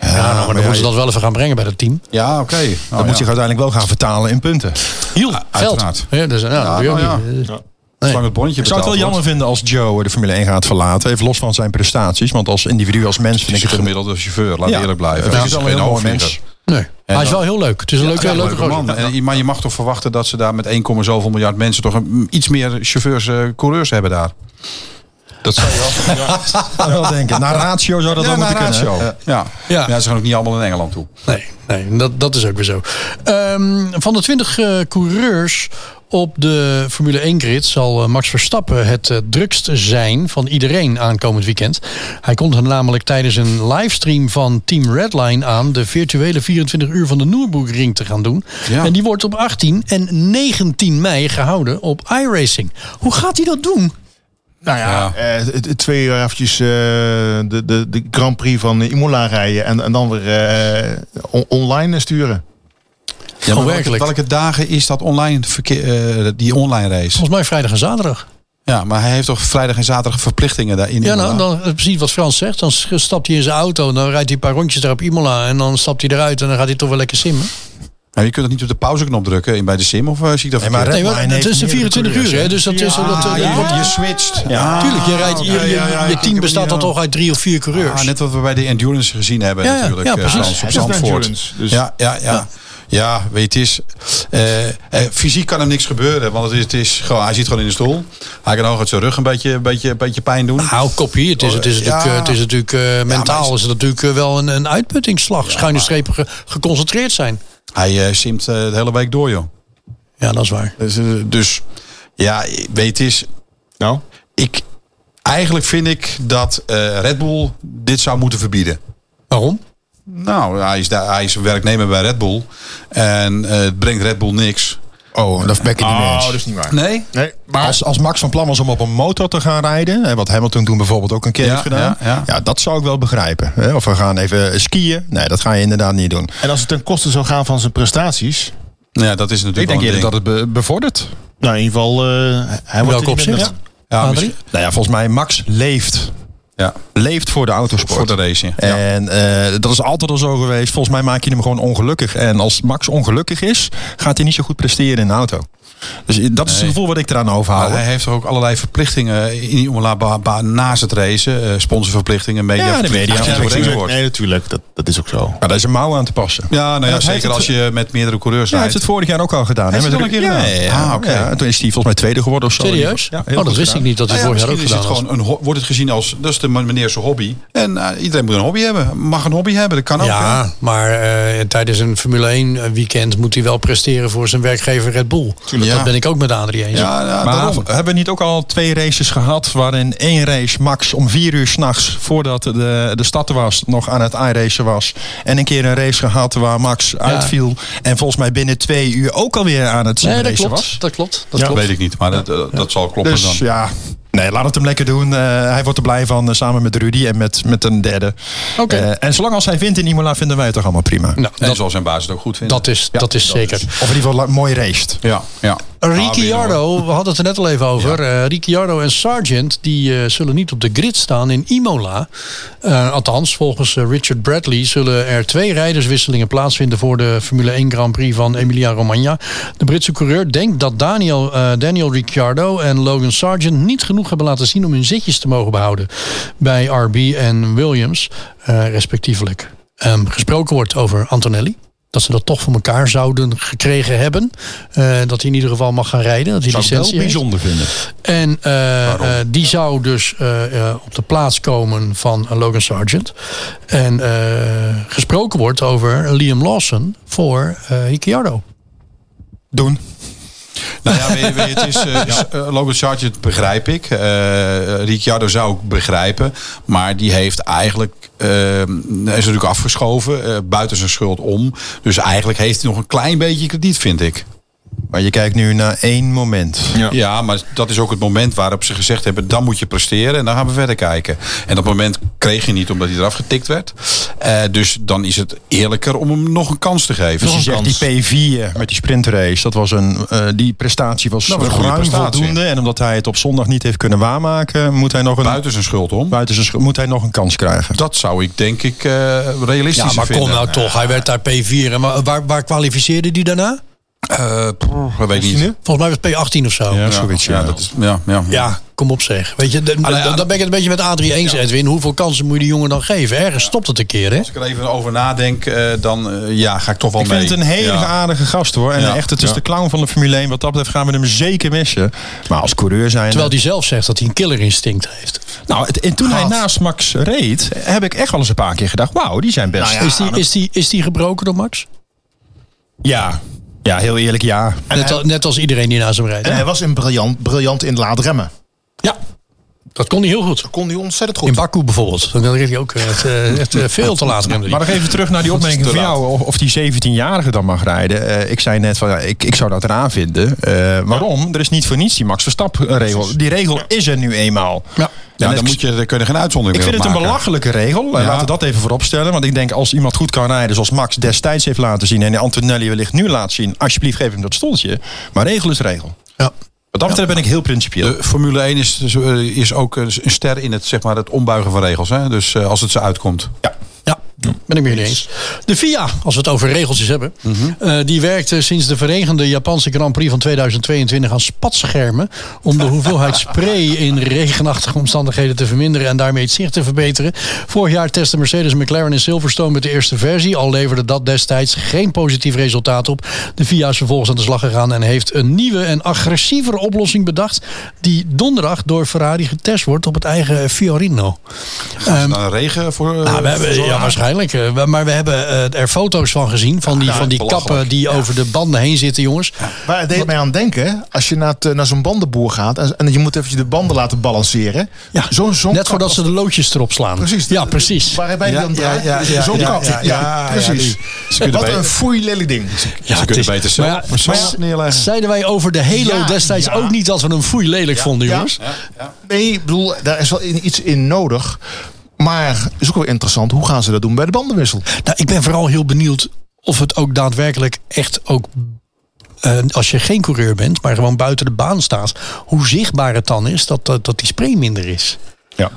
Speaker 2: ja, nou, maar dan moeten ze dat wel even gaan brengen bij dat team.
Speaker 4: Ja, oké. Nou,
Speaker 5: dat moet
Speaker 4: ja.
Speaker 5: zich uiteindelijk wel gaan vertalen in punten.
Speaker 2: Hiel,
Speaker 4: Ah,
Speaker 2: geld.
Speaker 4: uiteraard.
Speaker 2: Ja, dus, nou, dat doe je
Speaker 4: nou
Speaker 2: ook niet.
Speaker 4: Zolang het bonnetje
Speaker 5: Ik zou
Speaker 4: betaald
Speaker 5: het wel jammer
Speaker 4: wordt.
Speaker 5: vinden als Joe de Formule 1 gaat verlaten. Even los van zijn prestaties. Want als individu, als mens
Speaker 4: Het
Speaker 5: vind
Speaker 4: is
Speaker 5: ik het
Speaker 4: een
Speaker 5: gemiddeld.
Speaker 4: gemiddelde chauffeur, laat
Speaker 5: Ja.
Speaker 4: eerlijk blijven.
Speaker 5: Ja,
Speaker 4: Het
Speaker 5: het is wel een
Speaker 4: geen
Speaker 5: heel mooi
Speaker 4: hoofdvlieger.
Speaker 5: mens.
Speaker 2: Nee, hij is wel heel leuk. Het is een leuke,
Speaker 4: Ja,
Speaker 2: leuke
Speaker 4: leuke
Speaker 2: gozer.
Speaker 4: man. En, maar je mag toch verwachten dat ze daar met 1, zoveel miljard mensen toch een, iets meer chauffeurs, eh, coureurs hebben daar.
Speaker 5: Dat zou je wel, wel denken. Naar ratio zou dat
Speaker 4: ja,
Speaker 5: dan
Speaker 4: naar
Speaker 5: moeten kunnen.
Speaker 4: ratio.
Speaker 5: hè?
Speaker 4: Oh. Eh, ja.
Speaker 2: Ja.
Speaker 4: Ja. ze gaan ook niet allemaal naar Engeland toe.
Speaker 2: Nee, nee dat, dat is ook weer zo. Ehm, van de 20 eh, coureurs Op de Formule 1 grid zal eh, Max Verstappen het eh, drukst zijn van iedereen aankomend weekend. Hij komt er namelijk tijdens een livestream van Team Redline aan de virtuele 24 uur van de Nürburgring te gaan doen.
Speaker 4: Ja.
Speaker 2: En die wordt op 18 en 19 mei gehouden op iRacing. Hoe gaat hij dat doen?
Speaker 3: Nou ja,
Speaker 4: Ja.
Speaker 3: eh, t- t- twee uur eventjes eh, de, de, de Grand Prix van Imola rijden. En, en dan weer eh, on- online sturen.
Speaker 4: Ja, maar welke-
Speaker 2: werkelijk.
Speaker 4: Welke dagen is dat online verkeer, eh, die online race?
Speaker 2: Volgens mij vrijdag en zaterdag.
Speaker 4: Ja, maar hij heeft toch vrijdag en zaterdag verplichtingen daarin?
Speaker 2: Ja, nou,
Speaker 4: inderdaad?
Speaker 2: dan, eh, precies wat Frans zegt. Dan s- stapt hij in zijn auto, dan rijdt hij een paar rondjes daar op Imola... en dan stapt hij eruit en dan gaat hij toch wel lekker simmen.
Speaker 4: Maar je kunt toch niet op de pauzeknop drukken in bij de sim of eh, zie ik dat
Speaker 5: Nee, maar
Speaker 4: verkeerd?
Speaker 2: Nee,
Speaker 5: Redline
Speaker 2: want het
Speaker 5: heeft
Speaker 2: is de
Speaker 5: meerdere
Speaker 2: 24 uur,
Speaker 5: coureurs,
Speaker 2: hè?
Speaker 5: hè?
Speaker 2: Dus dat is... Dat,
Speaker 4: Ah,
Speaker 2: dat-
Speaker 4: je,
Speaker 2: dat-
Speaker 4: wordt- je switcht.
Speaker 5: Ja.
Speaker 2: Tuurlijk, je, rijdt, je,
Speaker 4: Ja,
Speaker 2: je-
Speaker 4: ja, ja,
Speaker 2: je
Speaker 4: ik heb
Speaker 2: team
Speaker 4: hem
Speaker 2: bestaat
Speaker 4: hier
Speaker 2: dan
Speaker 4: al.
Speaker 2: toch uit drie of vier coureurs.
Speaker 4: Ah, net wat we bij de endurance gezien hebben
Speaker 2: Ja, ja.
Speaker 4: natuurlijk.
Speaker 2: Ja,
Speaker 4: eh,
Speaker 2: precies.
Speaker 4: Frans,
Speaker 3: Hij
Speaker 4: op
Speaker 3: is een
Speaker 4: Zandvoort.
Speaker 3: endurance, dus-
Speaker 4: Ja, ja, ja. ja. weet je, het is... eh, eh, fysiek kan hem niks gebeuren. Want het is, het is gewoon, hij zit gewoon in de stoel. Hij kan ook uit zijn rug een beetje, een beetje, een beetje pijn doen.
Speaker 2: Hou kopie. Nou, Het is, het is
Speaker 4: Ja.
Speaker 2: natuurlijk, eh, het is natuurlijk eh, mentaal
Speaker 4: is-
Speaker 2: is het natuurlijk eh, wel een, een uitputtingsslag. Schuine strepen ge- geconcentreerd zijn.
Speaker 4: Hij eh, simt eh, de hele week door, joh.
Speaker 2: Ja, dat is waar.
Speaker 4: Dus, eh, dus ja, weet je, het is...
Speaker 5: Nou?
Speaker 4: Ik, eigenlijk vind ik dat eh, Red Bull dit zou moeten verbieden.
Speaker 2: Waarom?
Speaker 4: Nou, hij is, daar, hij is werknemer bij Red Bull. En eh, het brengt Red Bull niks.
Speaker 5: Oh, dat ben ik niet mee eens.
Speaker 3: Oh, dat is niet waar.
Speaker 4: Nee?
Speaker 3: Nee, maar
Speaker 5: als, als Max van plan was om op een motor te gaan rijden, hè, wat Hamilton toen bijvoorbeeld ook een keer
Speaker 4: Ja,
Speaker 5: heeft gedaan,
Speaker 4: ja, ja.
Speaker 5: dat zou ik wel begrijpen. Hè. Of we gaan even skiën, nee, dat ga je inderdaad niet doen.
Speaker 3: en als het ten koste zou gaan van zijn prestaties.
Speaker 4: Ja, dat is
Speaker 5: Ik
Speaker 4: natuurlijk
Speaker 5: denk
Speaker 4: wel
Speaker 5: eerder
Speaker 4: een
Speaker 5: dat
Speaker 4: ding.
Speaker 5: het be- bevordert.
Speaker 3: Nou, in ieder geval, eh, hij wordt
Speaker 2: welk
Speaker 3: er niet
Speaker 2: opzicht?
Speaker 3: minder.
Speaker 4: Ja,
Speaker 2: Adrie?
Speaker 4: misschien-
Speaker 5: Nou ja, volgens mij Max leeft.
Speaker 4: ja,
Speaker 5: Leeft voor de autosport.
Speaker 4: voor de race. Ja. Ja.
Speaker 5: En eh, dat is altijd al zo geweest. Volgens mij maak je hem gewoon ongelukkig. En als Max ongelukkig is, gaat hij niet zo goed presteren in de auto. Dus i- dat is het
Speaker 4: Nee.
Speaker 5: gevoel wat ik eraan overhoud.
Speaker 4: Maar hij heeft toch ook allerlei verplichtingen in Imola ba- ba- naast het racen. eh, sponsorverplichtingen, media.
Speaker 5: Ja, de media-
Speaker 4: verplichtingen,
Speaker 5: Ja,
Speaker 4: als je
Speaker 5: natuurlijk.
Speaker 4: gereden wordt.
Speaker 3: Nee, natuurlijk. Dat, dat is ook zo.
Speaker 5: Maar daar is een mouw aan te passen. Ja.
Speaker 4: Ja, nou ja,
Speaker 5: dat heeft
Speaker 4: zeker
Speaker 5: het-
Speaker 4: als je met meerdere coureurs
Speaker 5: hij
Speaker 4: rijdt.
Speaker 5: heeft het vorig jaar ook al gedaan.
Speaker 4: Hij
Speaker 5: hè,
Speaker 4: heeft
Speaker 5: met
Speaker 4: het al
Speaker 5: de-
Speaker 4: een keer
Speaker 5: Ja,
Speaker 4: gedaan?
Speaker 5: Ja,
Speaker 4: Ah, oké.
Speaker 5: ja. En toen is hij volgens mij tweede geworden of zo.
Speaker 2: Serieus?
Speaker 5: Ja, heel
Speaker 2: oh, dat
Speaker 5: goed
Speaker 2: wist
Speaker 5: gedaan.
Speaker 2: ik niet dat hij
Speaker 4: Nou ja,
Speaker 2: vorig jaar ook
Speaker 4: misschien
Speaker 2: gedaan
Speaker 4: is het
Speaker 2: had.
Speaker 4: gewoon een ho- wordt het gezien als dat is de man- meneer zijn hobby. En eh, iedereen moet een hobby hebben. Mag een hobby hebben, dat kan ook. hè?
Speaker 2: Ja, maar eh, tijdens een Formule 1 weekend moet hij wel presteren voor zijn werkgever Red Bull.
Speaker 4: Tuurlijk.
Speaker 2: Dat
Speaker 4: Ja.
Speaker 2: ben ik ook met Adrie eens.
Speaker 4: ja, ja
Speaker 5: Maar
Speaker 4: daarom.
Speaker 5: hebben we niet ook al twee races gehad waarin één race max om vier uur s'nachts voordat de, de stad er was nog aan het iRacen was. En een keer een race gehad waar max uitviel en volgens mij binnen twee uur ook alweer aan het
Speaker 2: Nee, Eh, dat
Speaker 5: racen
Speaker 2: klopt.
Speaker 5: was.
Speaker 2: Dat klopt. Dat
Speaker 5: Ja.
Speaker 4: Dat
Speaker 2: klopt.
Speaker 4: weet ik niet, maar dat, eh, dat zal kloppen
Speaker 5: Dus
Speaker 4: dan.
Speaker 5: ja, nee, laat het hem lekker doen. Eh, hij wordt er blij van eh, samen met Rudy en met, met een derde.
Speaker 2: Oké.
Speaker 5: Eh, en zolang als hij vindt in Imola vinden wij het toch allemaal prima.
Speaker 2: Nou,
Speaker 4: En
Speaker 2: dat,
Speaker 4: zal zijn baas het ook goed vinden.
Speaker 2: dat is,
Speaker 4: Ja,
Speaker 2: dat is zeker.
Speaker 5: Of in ieder geval la- mooi raced.
Speaker 4: Ja, ja.
Speaker 2: Eh, Ricciardo, we hadden het er net al even over. Eh Ricciardo en Sargent die eh, zullen niet op de grid staan in Imola. Eh, althans, volgens eh, Richard Bradley zullen er twee rijderswisselingen plaatsvinden voor de Formule 1 Grand Prix van Emilia Romagna. De Britse coureur denkt dat Daniel, eh, Daniel Ricciardo en Logan Sargent niet genoeg hebben laten zien om hun zitjes te mogen behouden bij RB en Williams, eh, respectievelijk. Ehm, gesproken wordt over Antonelli. Dat ze dat toch voor elkaar zouden gekregen hebben. Eh, dat hij in ieder geval mag gaan rijden. Dat hij
Speaker 5: Zou ik wel
Speaker 2: licentie heeft.
Speaker 5: bijzonder vinden.
Speaker 2: En eh, eh, die zou dus eh, eh, op de plaats komen van eh, Logan Sargent. En eh, gesproken wordt over Liam Lawson voor eh Ricciardo.
Speaker 5: Doen.
Speaker 4: Nou ja, weet je, weet je, het is, eh, s- eh, Logan Sargent begrijp ik. Eh, Ricciardo zou ik begrijpen. Maar die heeft eigenlijk... eh, is natuurlijk afgeschoven. eh, buiten zijn schuld om. Dus eigenlijk heeft hij nog een klein beetje krediet, vind ik.
Speaker 5: Maar je kijkt nu naar één moment.
Speaker 4: Ja. maar dat is ook het moment waarop ze gezegd hebben... dan moet je presteren en dan gaan we verder kijken. En dat moment kreeg je niet omdat hij eraf getikt werd. Eh, dus dan is het eerlijker om hem nog een kans te geven.
Speaker 5: Dus je zegt die P4 met die sprintrace, dat was een, eh, die prestatie was,
Speaker 4: Dat was een
Speaker 5: ruim
Speaker 4: goede prestatie.
Speaker 5: voldoende. En omdat hij het op zondag niet heeft kunnen waarmaken, moet hij nog een, buiten,
Speaker 4: buiten zijn schuld om.
Speaker 5: zijn scho- moet hij nog een kans krijgen.
Speaker 4: Dat zou ik denk ik eh realistisch
Speaker 2: Ja, maar kom
Speaker 4: vinden.
Speaker 2: nou toch. Hij werd daar P4. En waar, waar, waar kwalificeerde die daarna?
Speaker 4: Eh, prr, dat weet ik niet.
Speaker 2: Volgens mij was het P18 of zo.
Speaker 5: Ja, zoiets, ja.
Speaker 4: dat is, ja, eh, ja.
Speaker 2: Ja, kom op zeg. Weet je, dan
Speaker 4: Allee,
Speaker 2: ben ik het een beetje met Adrie eens, Edwin. Hoeveel kansen moet je die jongen dan geven? Ergens stopt het een keer, hè?
Speaker 4: Als ik er even over nadenk, eh, dan eh, ja, ga ik toch wel
Speaker 5: Ik
Speaker 4: mee.
Speaker 5: vind het een hele
Speaker 4: Ja.
Speaker 5: aardige gast hoor. En
Speaker 4: Ja.
Speaker 5: echt, het is
Speaker 4: Ja.
Speaker 5: de clown van de Formule 1. Wat dat betreft gaan we hem zeker missen. Maar als coureur zijn...
Speaker 2: Terwijl die zelf zegt dat hij een killerinstinct heeft.
Speaker 5: Nou, het- en toen hij
Speaker 4: Gast.
Speaker 5: naast Max reed, heb ik echt wel eens een
Speaker 2: Nou
Speaker 5: paar keer gedacht... Wauw, die zijn best.
Speaker 3: Nou ja,
Speaker 2: is, die, is, die, is die gebroken door Max?
Speaker 5: Ja. Ja, heel eerlijk, ja.
Speaker 2: Net, al- net als iedereen die naast hem rijdt.
Speaker 3: En hij was in briljant, briljant in laadremmen.
Speaker 2: Ja, dat kon hij heel goed.
Speaker 3: Kon hij ontzettend
Speaker 2: In
Speaker 3: goed.
Speaker 2: Baku bijvoorbeeld. Dan reed hij ook eh, het, eh, echt, eh, veel te laat. remde
Speaker 5: Maar
Speaker 2: hij.
Speaker 5: nog even terug naar die opmerking van jou, of, of die 17-jarige dan mag rijden. Eh, ik zei net van, ja, ik, ik zou dat raar vinden. Eh, waarom? Er is niet voor niets die Max Verstappen-regel. Die regel is er nu eenmaal.
Speaker 2: Ja.
Speaker 5: En
Speaker 4: Ja, dan
Speaker 5: het-
Speaker 4: moet je, daar kun je geen uitzondering
Speaker 5: Ik
Speaker 4: meer
Speaker 5: vind
Speaker 4: op
Speaker 5: het een
Speaker 4: maken.
Speaker 5: belachelijke regel. Eh, Laten we dat even vooropstellen. Want ik denk als iemand goed kan rijden zoals Max destijds heeft laten zien. En Antonelli wellicht nu laat zien. Alsjeblieft geef hem dat stoeltje. Maar regel is regel.
Speaker 2: Ja.
Speaker 5: Wat dat betreft ben ik heel principieel.
Speaker 4: De Formule 1 is, dus, eh, is ook een een ster in het, zeg maar, het ombuigen van regels. Hè? Dus eh, als het ze uitkomt.
Speaker 5: ja.
Speaker 2: Ja, ben ik mee eens. De FIA, als we het over regeltjes hebben, eh, die werkte sinds de verenigde Japanse Grand Prix van 2022 aan spatschermen om de hoeveelheid spray in regenachtige omstandigheden te verminderen en daarmee het zicht te verbeteren. Vorig jaar testte Mercedes McLaren in Silverstone met de eerste versie, al leverde dat destijds geen positief resultaat op. De FIA is vervolgens aan de slag gegaan en heeft een nieuwe en agressievere oplossing bedacht die donderdag door Ferrari getest wordt op het eigen Fiorino.
Speaker 4: Gaan ze dan regen voor. eh,
Speaker 2: Nou, we hebben,
Speaker 4: voor
Speaker 2: ja,
Speaker 4: zorgen?
Speaker 2: waarschijnlijk. eh, we- Maar we hebben eh, er foto's van gezien. Van die,
Speaker 4: Ja,
Speaker 2: van die
Speaker 4: belachelijk.
Speaker 2: kappen die over de banden heen zitten, jongens.
Speaker 3: Waar het deed mij aan denken, als je naar, het, eh, naar zo'n bandenboer gaat en, en je moet even de banden laten balanceren.
Speaker 2: Ja,
Speaker 3: Zo'n zo'n
Speaker 2: Net
Speaker 3: kap-
Speaker 2: voordat ze de loodjes erop slaan.
Speaker 3: Precies.
Speaker 2: Ja, precies.
Speaker 3: Waarbij die dan draait. zo'n kap. Ja, precies.
Speaker 4: kunnen
Speaker 3: Wat
Speaker 4: bij-
Speaker 3: een foei lelijk ding.
Speaker 2: Ja,
Speaker 4: ze
Speaker 2: het
Speaker 4: kunnen
Speaker 2: is-
Speaker 4: beter zelf
Speaker 2: maar ja,
Speaker 4: een
Speaker 2: maar
Speaker 4: smaak
Speaker 2: ja,
Speaker 4: neerleggen.
Speaker 2: Zeiden wij over de Halo
Speaker 3: Ja,
Speaker 2: destijds
Speaker 3: ja.
Speaker 2: ook niet dat we hem foei lelijk vonden,
Speaker 3: ja.
Speaker 2: jongens?
Speaker 3: Nee, ik bedoel, daar is wel in- iets in nodig. Maar is ook wel interessant, hoe gaan ze dat doen bij de bandenwissel?
Speaker 2: Nou, ik ben vooral heel benieuwd of het ook daadwerkelijk echt ook. eh, als je geen coureur bent, maar gewoon buiten de baan staat, hoe zichtbaar het dan is dat, dat, dat die spray minder is.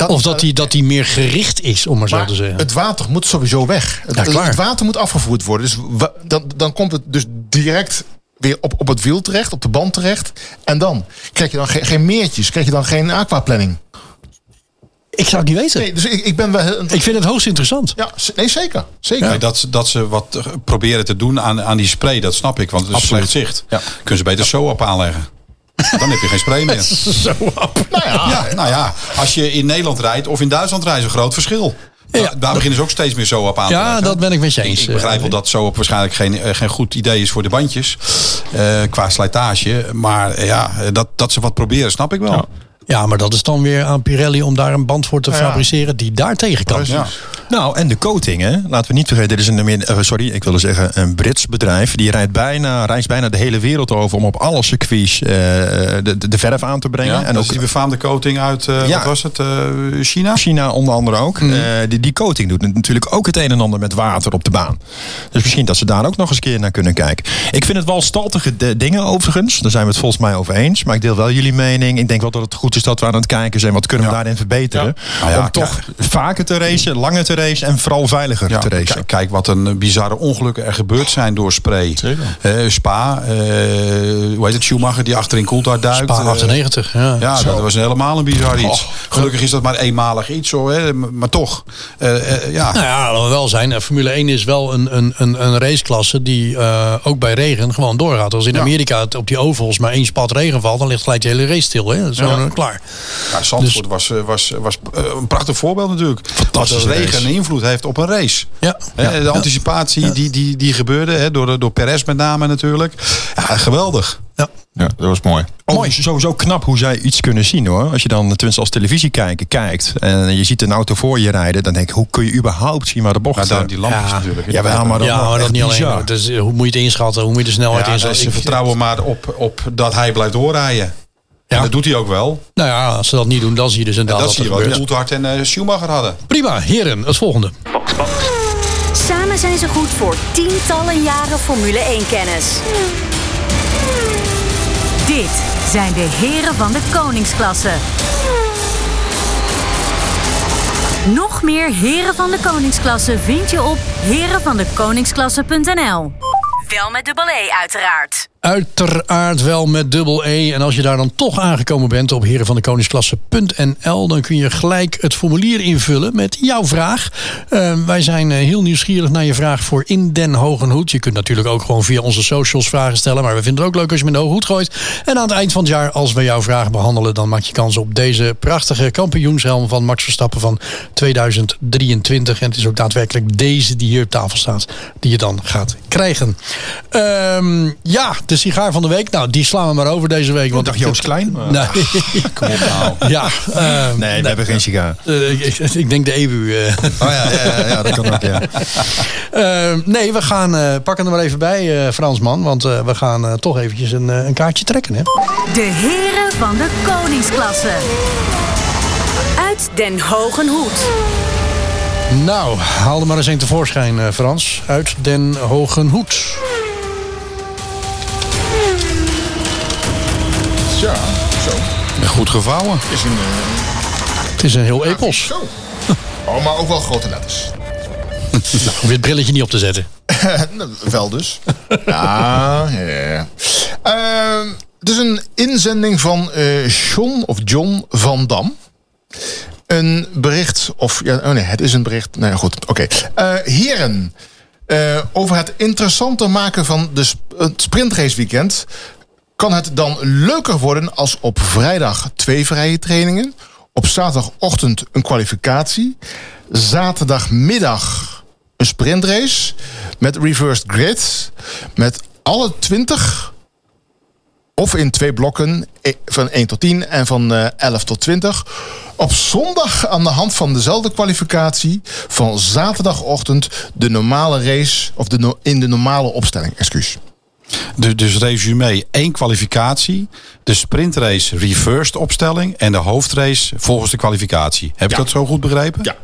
Speaker 2: of dat die, dat die meer gericht is, om maar,
Speaker 3: Maar
Speaker 2: zo te zeggen.
Speaker 3: het water moet sowieso weg. Het,
Speaker 2: klaar.
Speaker 3: het water moet afgevoerd worden. Dus wa- dan, dan komt het dus direct weer op, op het wiel terecht, op de band terecht. En dan? Krijg je dan geen, geen meertjes? Krijg je dan geen aquaplanning?
Speaker 2: ik zou het niet weten.
Speaker 3: Nee, dus ik, ik ben wel... heel-
Speaker 2: Ik vind het hoogst interessant.
Speaker 3: Ja, z- nee, zeker. zeker.
Speaker 4: Nee, dat, ze- dat ze wat eh, proberen te doen aan, aan die spray, dat snap ik. Want het is
Speaker 5: Absoluut.
Speaker 4: slecht zicht.
Speaker 5: Ja.
Speaker 4: Kunnen ze beter zo op
Speaker 5: <laughs>
Speaker 4: aanleggen. Dan heb je geen spray <laughs> meer.
Speaker 2: Zo op.
Speaker 3: nou ja,
Speaker 4: Ja, nou ja, als je in Nederland rijdt of in Duitsland rijdt, is een groot verschil.
Speaker 2: Ja,
Speaker 4: Ja, daar beginnen ze ook steeds meer zo op aan te
Speaker 2: Ja,
Speaker 4: leggen.
Speaker 2: dat ben ik met je eens. eh,
Speaker 4: Ik begrijp wel dat zo op waarschijnlijk geen, eh, geen goed idee is voor de bandjes. eh, qua slijtage. Maar eh, ja, eh, dat, dat ze wat proberen, snap ik wel.
Speaker 2: Ja, maar dat is dan weer aan Pirelli om daar een band voor te
Speaker 3: ja.
Speaker 2: fabriceren die daar tegen kan.
Speaker 4: Ja.
Speaker 5: Nou, en de coating, hè? laten we niet vergeten. Dit is een, Amer- eh, sorry, ik wilde zeggen een Brits bedrijf. Die rijdt bijna, reist bijna de hele wereld over om op alle circuits eh, de, de, de verf aan te brengen.
Speaker 4: Ja, en
Speaker 5: en
Speaker 4: ook die
Speaker 5: ook
Speaker 4: befaamde coating uit, eh,
Speaker 5: Dus- Ja.
Speaker 4: wat was het, eh, China?
Speaker 5: China onder andere ook.
Speaker 4: Mhm.
Speaker 5: Eh, die, die coating doet natuurlijk ook het een en ander met water op de baan. Dus misschien dat ze daar ook nog eens een keer naar kunnen kijken. Ik vind het wel staltige de- dingen overigens. Daar zijn we het volgens mij over eens. Maar ik deel wel jullie mening. Ik denk wel dat het goed is dat we aan het kijken zijn. Wat kunnen we daarin verbeteren?
Speaker 4: Nou ja,
Speaker 5: Om toch vaker te racen, langer te racen en vooral veiliger te
Speaker 4: Ja,
Speaker 5: racen.
Speaker 4: kijk, kijk wat een bizarre ongelukken er gebeurd zijn door spray. Eh, Spa, eh, hoe heet het, Schumacher die achterin Coulthard duikt.
Speaker 2: Spa
Speaker 4: eh,
Speaker 2: 98, ja.
Speaker 4: Ja, dat was helemaal een bizar iets. Gelukkig is dat maar eenmalig iets, hoor, hè, m- maar toch. Eh, eh, ja.
Speaker 2: Nou ja, laten we wel zijn. eh, Formule 1 is wel een, een, een, een raceklasse die eh, ook bij regen gewoon doorgaat. Als in Amerika het op die ovals maar één spat regen valt, dan ligt gelijk de hele race stil. Hè? Zo eh, klaar.
Speaker 4: Ja, Zandvoort was, eh, was, was eh, een prachtig voorbeeld natuurlijk. Wat de regen een invloed heeft op een race.
Speaker 2: Ja.
Speaker 4: Hè,
Speaker 2: Ja.
Speaker 4: De anticipatie die, die, die gebeurde, hè, door, door Perez met name natuurlijk. Ja, geweldig.
Speaker 2: Ja.
Speaker 5: Ja, dat was mooi. Mooi. Oh. Sowieso knap hoe zij iets kunnen zien hoor. Als je dan tenminste als televisiekijker kijkt en je ziet een auto voor je rijden, dan denk ik, hoe kun je überhaupt zien waar de bocht
Speaker 4: Maar
Speaker 5: staat?
Speaker 4: dan die lampjes
Speaker 2: Ja.
Speaker 4: natuurlijk. hè.
Speaker 5: Ja, maar, maar, dan
Speaker 2: ja, maar dat
Speaker 5: echt
Speaker 2: niet alleen.
Speaker 5: bizar.
Speaker 2: hoor. Dus, eh, hoe moet je het inschatten? Hoe moet je de snelheid
Speaker 4: Ja,
Speaker 2: inschatten?
Speaker 4: ze
Speaker 2: Ik-
Speaker 4: vertrouwen maar op, op dat hij blijft doorrijden. En dat doet hij ook wel.
Speaker 2: Nou ja, als ze dat niet doen, dan zie je dus inderdaad
Speaker 4: dat
Speaker 2: wat
Speaker 4: zie
Speaker 2: er
Speaker 4: je wel.
Speaker 2: gebeurt.
Speaker 4: Coulthard en eh, Schumacher hadden.
Speaker 2: Prima, heren, het volgende.
Speaker 6: Samen zijn ze goed voor tientallen jaren Formule 1-kennis. Dit zijn de heren van de koningsklasse. Nog meer heren van de koningsklasse vind je op herenvandekoningsklasse.nl. Wel met dubbel E uiteraard.
Speaker 2: Uiteraard wel met dubbel E. En als je daar dan toch aangekomen bent op herenvandekoningsklasse.nl, dan kun je gelijk het formulier invullen met jouw vraag. Eh, wij zijn eh, heel nieuwsgierig naar je vraag voor in den Hogenhoed. Je kunt natuurlijk ook gewoon via onze socials vragen stellen, maar we vinden het ook leuk als je met de Hogenhoed gooit. En aan het eind van het jaar, als we jouw vraag behandelen, dan maak je kans op deze prachtige kampioenshelm van Max Verstappen van 2023. En het is ook daadwerkelijk deze die hier op tafel staat, die je dan gaat krijgen. Ehm, ja, de sigaar van de week. Nou, die slaan we maar over deze week. Want
Speaker 5: Dag Joost Klein. Nee,
Speaker 2: <laughs> Nee.
Speaker 4: <laughs> Kom op nou.
Speaker 2: ja, ehm,
Speaker 5: we hebben geen sigaar.
Speaker 2: eh, ik, ik denk de EBU. eh. <laughs>
Speaker 5: Oh ja, ja, ja, ja, dat kan ook, <laughs> ja.
Speaker 2: Eh, nee, we gaan eh pakken er maar even bij, eh Fransman. Want eh, we gaan eh, toch eventjes een, eh, een kaartje trekken. Hè?
Speaker 6: De heren van de koningsklasse. Uit Den Hogenhoed.
Speaker 2: Nou, haal er maar eens een tevoorschijn, eh, Frans. Uit Den Hogen Hoed.
Speaker 3: Ja, zo.
Speaker 4: Goed gevouwen.
Speaker 3: Is een, eh,
Speaker 2: Het is een heel epos.
Speaker 3: zo. Oh, maar ook wel grote letters.
Speaker 2: Hoef je het brilletje niet op te zetten.
Speaker 3: <laughs> Nou, wel dus. Ja, ja, ja. Ehm, het is een inzending van eh John of John van Dam. Een bericht, of ja, oh nee, het is een bericht. Nou goed, oké. Eh, heren, eh, over het interessanter maken van de sp- het sprintrace weekend. Kan het dan leuker worden als op vrijdag twee vrije trainingen? Op zaterdagochtend een kwalificatie. Zaterdagmiddag een sprintrace. Met reversed grid. Met alle 20. Of in twee blokken. e- Van 1 tot 10 en van eh, 11 tot 20. Op zondag aan de hand van dezelfde kwalificatie. Van zaterdagochtend de normale race. Of de no- in de normale opstelling. Excuus.
Speaker 4: Dus, dus resume, één kwalificatie, de sprintrace reversed opstelling en de hoofdrace volgens de kwalificatie. Heb ik
Speaker 3: Ja.
Speaker 4: dat zo goed begrepen?
Speaker 3: Ja.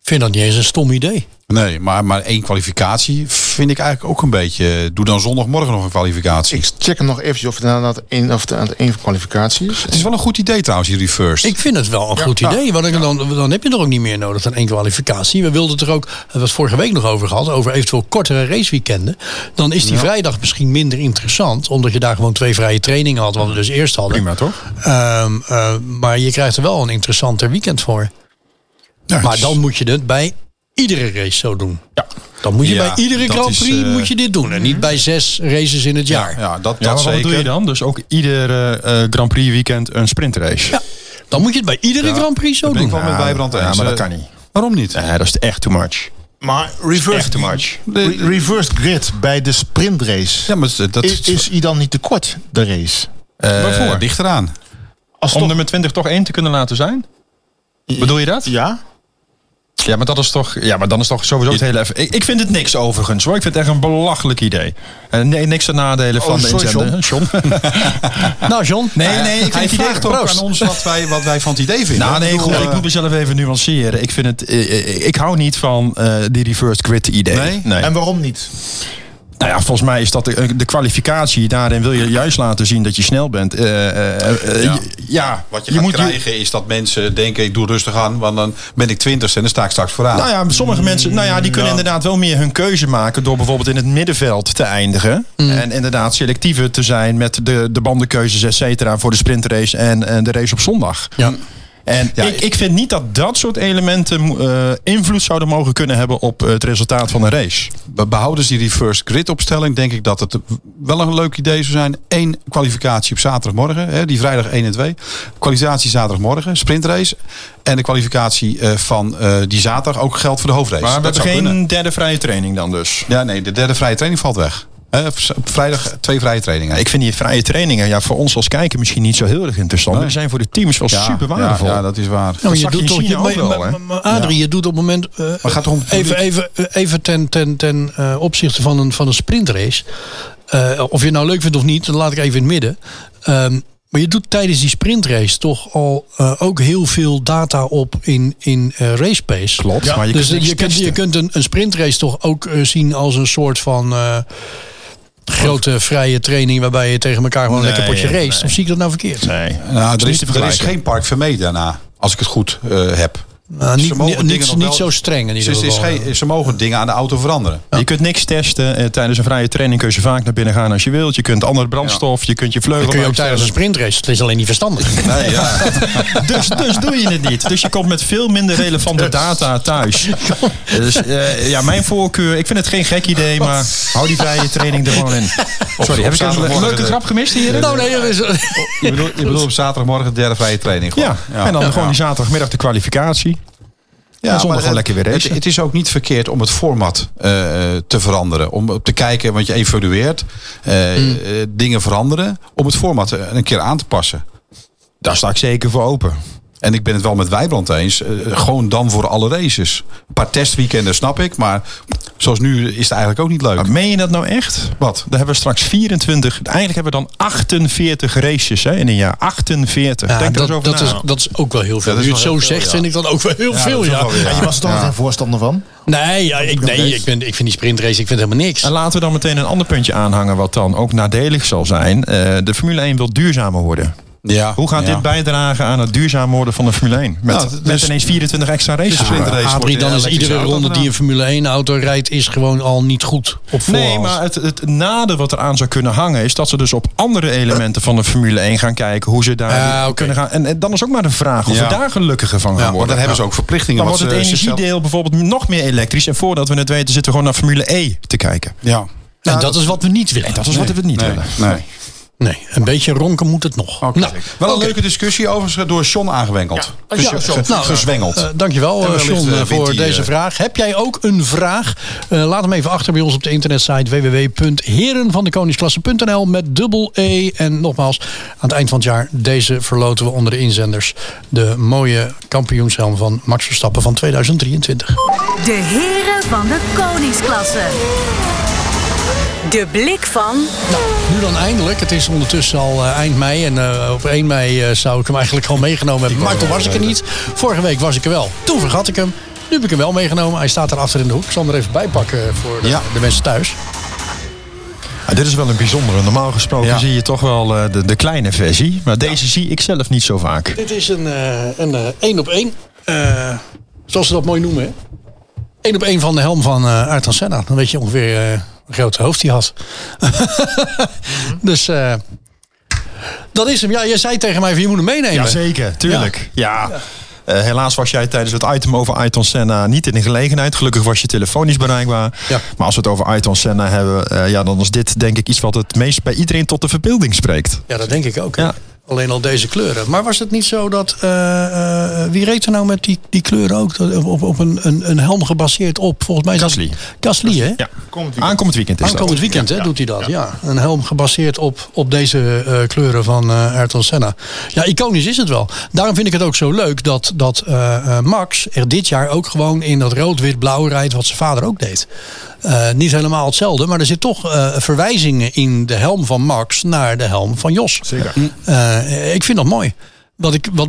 Speaker 2: Ik vind dat niet eens een stom idee.
Speaker 4: Nee, maar, maar één kwalificatie vind ik eigenlijk ook een beetje... Doe dan zondagmorgen nog een kwalificatie.
Speaker 3: Ik check hem nog eventjes of het inderdaad één of het aan het één kwalificatie is.
Speaker 4: Het is wel een goed idee trouwens, die reversed.
Speaker 2: Ik vind het wel een goed
Speaker 3: ja.
Speaker 2: idee. Want ik- dan, dan heb je er ook niet meer nodig dan één kwalificatie. We wilden het er ook, we hebben het vorige week nog over gehad, over eventueel kortere raceweekenden. Dan is die vrijdag misschien minder interessant. Omdat je daar gewoon twee vrije trainingen had, wat we dus eerst hadden.
Speaker 5: Prima, toch?
Speaker 2: Ehm, eh, maar je krijgt er wel een interessanter weekend voor. maar dan moet je het bij iedere race zo doen. Ja. Dan moet je
Speaker 4: Ja,
Speaker 2: bij iedere
Speaker 4: dat
Speaker 2: Grand
Speaker 4: is,
Speaker 2: Prix
Speaker 4: eh,
Speaker 2: moet je dit doen. En niet bij zes races in het jaar.
Speaker 4: ja, dat, dat
Speaker 5: Ja, maar wat
Speaker 4: zeker.
Speaker 5: doe je dan? Dus ook ieder eh, eh, Grand Prix weekend een sprintrace. Ja,
Speaker 2: Dan moet je het bij iedere Grand Prix zo
Speaker 4: Dat ben
Speaker 2: doen.
Speaker 4: ik wel met Wijbrand
Speaker 5: ja,
Speaker 4: eens.
Speaker 5: maar dat
Speaker 4: Eh,
Speaker 5: kan niet.
Speaker 4: Waarom niet?
Speaker 5: Nee, dat is echt too much.
Speaker 3: Maar
Speaker 5: Echt
Speaker 3: reversed,
Speaker 5: too much.
Speaker 3: re- reversed grid bij de sprintrace.
Speaker 4: Ja, maar dat
Speaker 3: is, is hij dan niet te kort, de race?
Speaker 4: eh,
Speaker 5: Waarvoor?
Speaker 4: Ligt eraan.
Speaker 3: Als
Speaker 5: Om
Speaker 3: toch-
Speaker 5: nummer 20 toch één te kunnen laten zijn? Bedoel je dat?
Speaker 3: Ja?
Speaker 5: Ja, maar dat is toch. Ja, maar dan is toch sowieso het hele. Ik, ik vind het niks overigens hoor. Ik vind het echt een belachelijk idee. Eh, nee, niks ten
Speaker 4: Oh,
Speaker 5: nadelen van de
Speaker 3: sorry,
Speaker 5: inzender. John.
Speaker 2: Nou, John.
Speaker 5: Nee,
Speaker 4: <laughs>
Speaker 5: nee, ik
Speaker 4: Hij
Speaker 5: vind het idee
Speaker 4: vraagt ook
Speaker 5: proost.
Speaker 4: aan ons wat wij, wat wij van het idee vinden.
Speaker 5: Nou,
Speaker 4: Ik
Speaker 5: nee,
Speaker 4: bedoel,
Speaker 5: goed.
Speaker 4: eh,
Speaker 5: Ik moet mezelf even nuanceren. Ik vind het. eh, eh, ik hou niet van eh, die reverse grid idee.
Speaker 4: Nee?
Speaker 3: En waarom niet?
Speaker 5: Nou ja, volgens mij is dat de, de kwalificatie. Daarin wil je juist laten zien dat je snel bent. Eh, eh, eh,
Speaker 4: Ja.
Speaker 5: ja.
Speaker 4: Wat je, gaat
Speaker 5: moet
Speaker 4: krijgen is dat mensen denken, ik doe rustig aan, want dan ben ik twintigste en dan sta ik straks vooraan.
Speaker 5: Nou ja, sommige mensen nou ja, die kunnen inderdaad wel meer hun keuze maken door bijvoorbeeld in het middenveld te eindigen.
Speaker 2: Mm.
Speaker 5: En inderdaad selectiever te zijn met de, de bandenkeuzes, et cetera, voor de sprintrace en, en de race op
Speaker 2: <laughs>
Speaker 5: zondag.
Speaker 2: Ja. Nou,
Speaker 5: En ik, ik vind niet dat dat soort elementen eh, invloed zouden mogen kunnen hebben op het resultaat van een race.
Speaker 4: Be- Behouden ze die reverse grid opstelling, denk ik dat het wel een leuk idee zou zijn. Eén kwalificatie op zaterdagmorgen, hè, die vrijdag 1 en 2. Kwalificatie zaterdagmorgen, sprintrace. En de kwalificatie eh, van eh, die zaterdag ook geldt voor de hoofdrace.
Speaker 5: Maar we
Speaker 4: Dat
Speaker 5: hebben
Speaker 4: zou
Speaker 5: geen
Speaker 4: kunnen.
Speaker 5: derde vrije training dan dus.
Speaker 4: Ja, nee, de derde vrije training valt weg. Hè, op z- op vrijdag twee vrije trainingen.
Speaker 5: Ik vind die vrije trainingen ja, voor ons als kijker misschien niet zo heel erg interessant. Maar die zijn voor de teams wel
Speaker 4: Ja,
Speaker 5: super
Speaker 4: ja,
Speaker 5: waardevol.
Speaker 4: Ja, dat is waar.
Speaker 2: Nou,
Speaker 5: Dat zag je in
Speaker 2: toch-
Speaker 5: China
Speaker 2: maar-
Speaker 5: ook wel,
Speaker 2: maar-
Speaker 5: hè?
Speaker 2: maar- maar Adrie, je doet op het moment. eh,
Speaker 4: gaat toch om het
Speaker 2: even,
Speaker 4: publiek?
Speaker 2: even, eh, even ten, ten, ten eh, opzichte van een, van een sprintrace. Eh, of je het nou leuk vindt of niet, dat laat ik even in het midden. Ehm, maar je doet tijdens die sprintrace toch al eh, ook heel veel data op in, in eh race pace.
Speaker 5: Klopt, maar je
Speaker 2: dus
Speaker 5: kunt niks
Speaker 2: je kunt, je
Speaker 5: testen.
Speaker 2: kunt een, een sprintrace toch ook eh, zien als een soort van. eh, Grote vrije training waarbij je tegen elkaar gewoon een
Speaker 5: Nee,
Speaker 2: lekker potje
Speaker 5: nee.
Speaker 2: race. Of zie ik dat nou verkeerd?
Speaker 5: Nee,
Speaker 4: Nou, er is,
Speaker 5: dat is niet te
Speaker 4: er is
Speaker 5: vergelijken.
Speaker 4: geen park vermee daarna, als ik het goed eh, heb.
Speaker 2: Nou,
Speaker 4: Ze
Speaker 2: niet,
Speaker 4: mogen
Speaker 2: niet,
Speaker 4: dingen
Speaker 2: niet,
Speaker 4: nog wel-
Speaker 2: niet zo streng in ieder
Speaker 4: Ze,
Speaker 2: geval. eh.
Speaker 4: is geen, ze mogen dingen aan de auto veranderen.
Speaker 5: Je kunt niks testen. Eh, tijdens een vrije training kun je vaak naar binnen gaan als je wilt. Je kunt andere brandstof, je kunt je vleugel.
Speaker 2: dat kun je ook tijdens een
Speaker 5: bijstellen.
Speaker 2: sprintrace. Het is alleen niet verstandig.
Speaker 4: Nee, <laughs> ja.
Speaker 5: dus, dus doe je het niet. Dus je komt met veel
Speaker 2: <laughs>
Speaker 5: minder
Speaker 2: Dus.
Speaker 5: relevante data thuis. Dus eh, ja, mijn voorkeur. Ik vind het geen gek idee, maar hou die vrije training er gewoon in. Sorry, heb ik een
Speaker 4: zaterdagmorgen
Speaker 5: leuke
Speaker 4: de-
Speaker 5: grap gemist hier?
Speaker 2: nou, nee, dat is,
Speaker 4: Je bedoelt, je bedoelt op zaterdagmorgen de derde vrije training. Gewoon.
Speaker 5: Ja, en dan gewoon die zaterdagmiddag de kwalificatie.
Speaker 4: Ja,
Speaker 5: zondag
Speaker 4: maar
Speaker 5: gewoon
Speaker 4: het-
Speaker 5: lekker weer racen.
Speaker 4: Het, het is ook niet verkeerd om het format eh, te veranderen. Om op te kijken, want je evalueert eh,
Speaker 5: Hmm.
Speaker 4: eh, dingen veranderen. Om het format eh, een keer aan te passen.
Speaker 5: Daar sta ik zeker voor open.
Speaker 4: En ik ben het wel met Wijbrand eens. eh, gewoon dan voor alle races. Een paar testweekenden snap ik. Maar zoals nu is het eigenlijk ook niet leuk.
Speaker 5: Maar meen je dat nou echt? Wat? Daar hebben we straks 24. Eigenlijk hebben we dan 48 races hè, in een jaar. 48.
Speaker 2: ja,
Speaker 5: Denk er
Speaker 2: dat,
Speaker 5: eens over
Speaker 2: dat,
Speaker 5: na.
Speaker 2: is, dat is ook wel heel veel.
Speaker 4: Dat
Speaker 2: Nu
Speaker 4: is
Speaker 2: je het
Speaker 4: wel
Speaker 2: zo
Speaker 4: heel veel,
Speaker 2: zegt,
Speaker 4: ja.
Speaker 2: vind ik dat ook wel heel veel.
Speaker 4: dat is
Speaker 2: Ja.
Speaker 4: ook wel weer-
Speaker 3: je was er toch geen voorstander van?
Speaker 2: Nee, ja, ik, nee ik, ben, ik vind die sprintrace ik vind helemaal niks.
Speaker 5: En laten we dan meteen een ander puntje aanhangen, wat dan ook nadelig zal zijn. Eh, de Formule 1 wil duurzamer worden.
Speaker 4: ja.
Speaker 5: Hoe gaat
Speaker 4: Ja.
Speaker 5: dit bijdragen aan het duurzaam worden van de Formule 1? Met,
Speaker 4: Nou,
Speaker 5: met
Speaker 4: dus-
Speaker 5: ineens 24 extra races. Ah.
Speaker 4: Dus winterrace wordt
Speaker 2: Adrie, dan
Speaker 4: een
Speaker 2: is
Speaker 4: elektrische
Speaker 2: iedere
Speaker 4: auto
Speaker 2: ronde die
Speaker 4: gedaan.
Speaker 2: een Formule 1 auto rijdt, is gewoon al niet goed op voorhand.
Speaker 5: Nee, maar het, het nadeel wat eraan zou kunnen hangen is dat ze dus op andere elementen van de Formule 1 gaan kijken. Hoe ze daar
Speaker 2: Ah, oké.
Speaker 5: kunnen gaan. En, en dan is ook maar de vraag of
Speaker 4: Ja.
Speaker 5: we daar gelukkiger van gaan
Speaker 4: Ja,
Speaker 5: worden.
Speaker 4: want dan hebben ze ook verplichtingen.
Speaker 5: Dan
Speaker 4: want
Speaker 5: wordt het
Speaker 4: ze- ze zelf-
Speaker 5: energiedeel bijvoorbeeld nog meer elektrisch. En voordat we het weten zitten we gewoon naar Formule E te kijken.
Speaker 4: Ja.
Speaker 2: en dat, is wat we niet willen.
Speaker 5: Dat is wat we niet
Speaker 4: Nee,
Speaker 5: willen.
Speaker 4: nee.
Speaker 2: Nee, een beetje ronken moet het nog.
Speaker 4: Nou, wel een leuke discussie overigens eh, door Sean aangewenkeld. Ges-
Speaker 2: Ja,
Speaker 4: ge-
Speaker 2: nou,
Speaker 4: gezwengeld.
Speaker 2: eh, dankjewel,
Speaker 4: En
Speaker 2: eh,
Speaker 4: wellicht,
Speaker 2: John,
Speaker 4: eh,
Speaker 2: eh,
Speaker 4: wint
Speaker 2: voor
Speaker 4: hij,
Speaker 2: deze
Speaker 4: eh,
Speaker 2: vraag. Heb jij ook een vraag? Eh, laat hem even achter bij ons op de internetsite www.herenvandekoningsklasse.nl met dubbel E. En nogmaals, aan het eind van het jaar, deze verloten we onder de inzenders. De mooie kampioenshelm van Max Verstappen van 2023.
Speaker 6: De heren van de koningsklasse. De blik van
Speaker 2: Nu dan eindelijk. Het is ondertussen al eh, eind mei. En eh, op 1 mei eh, zou ik hem eigenlijk al meegenomen hebben. Maar toen was ik er niet. Vorige week was ik er wel. Toen vergat ik hem. Nu heb ik hem wel meegenomen. Hij staat daar achter in de hoek. Ik zal hem er even bij pakken voor de,
Speaker 4: Ja.
Speaker 2: de mensen thuis.
Speaker 4: Ah,
Speaker 5: Ja, dit is wel een bijzondere. Normaal gesproken
Speaker 4: Ja.
Speaker 5: zie je toch wel eh, de, de kleine versie. Maar deze zie ik zelf niet zo vaak.
Speaker 2: Dit is een eh, een eh, één op één. Eh, zoals ze dat mooi noemen. hè. Eén op één van de helm van eh Ayrton Senna. Dan weet je ongeveer eh hoe groot het hoofd hij had. <laughs> dus eh, dat is hem. Ja, jij zei tegen mij, van, je moet hem meenemen.
Speaker 5: Jazeker, tuurlijk. Ja. Eh, helaas was jij tijdens het item over Ayrton Senna niet in de gelegenheid. Gelukkig was je telefonisch bereikbaar.
Speaker 2: Ja.
Speaker 5: Maar als we het over Ayrton Senna hebben, eh, ja, dan is dit denk ik iets wat het meest bij iedereen tot de verbeelding spreekt.
Speaker 2: Ja, dat denk ik ook. hè.
Speaker 5: Ja.
Speaker 2: Alleen al deze kleuren. Maar was het niet zo dat. eh, eh, wie reed er nou met die, die kleuren ook? Dat- Op, op, op een, een, een helm gebaseerd op, volgens mij. is dat-
Speaker 5: Gasly.
Speaker 2: Gasly, hè?
Speaker 5: Ja.
Speaker 3: Komend weekend.
Speaker 5: Aankomend weekend is dat.
Speaker 2: Aankomend weekend hè, doet hij dat, ja. Een helm gebaseerd op, op deze eh, kleuren van eh Ayrton Senna. Ja, iconisch is het wel. Daarom vind ik het ook zo leuk dat, dat eh, eh, Max er dit jaar ook gewoon in dat rood-wit-blauw rijdt... wat zijn vader ook deed. Eh, niet helemaal hetzelfde, maar er zit toch eh, verwijzingen in de helm van Max... naar de helm van Jos.
Speaker 3: Zeker.
Speaker 2: Eh, ik vind dat mooi. Wat ik, wat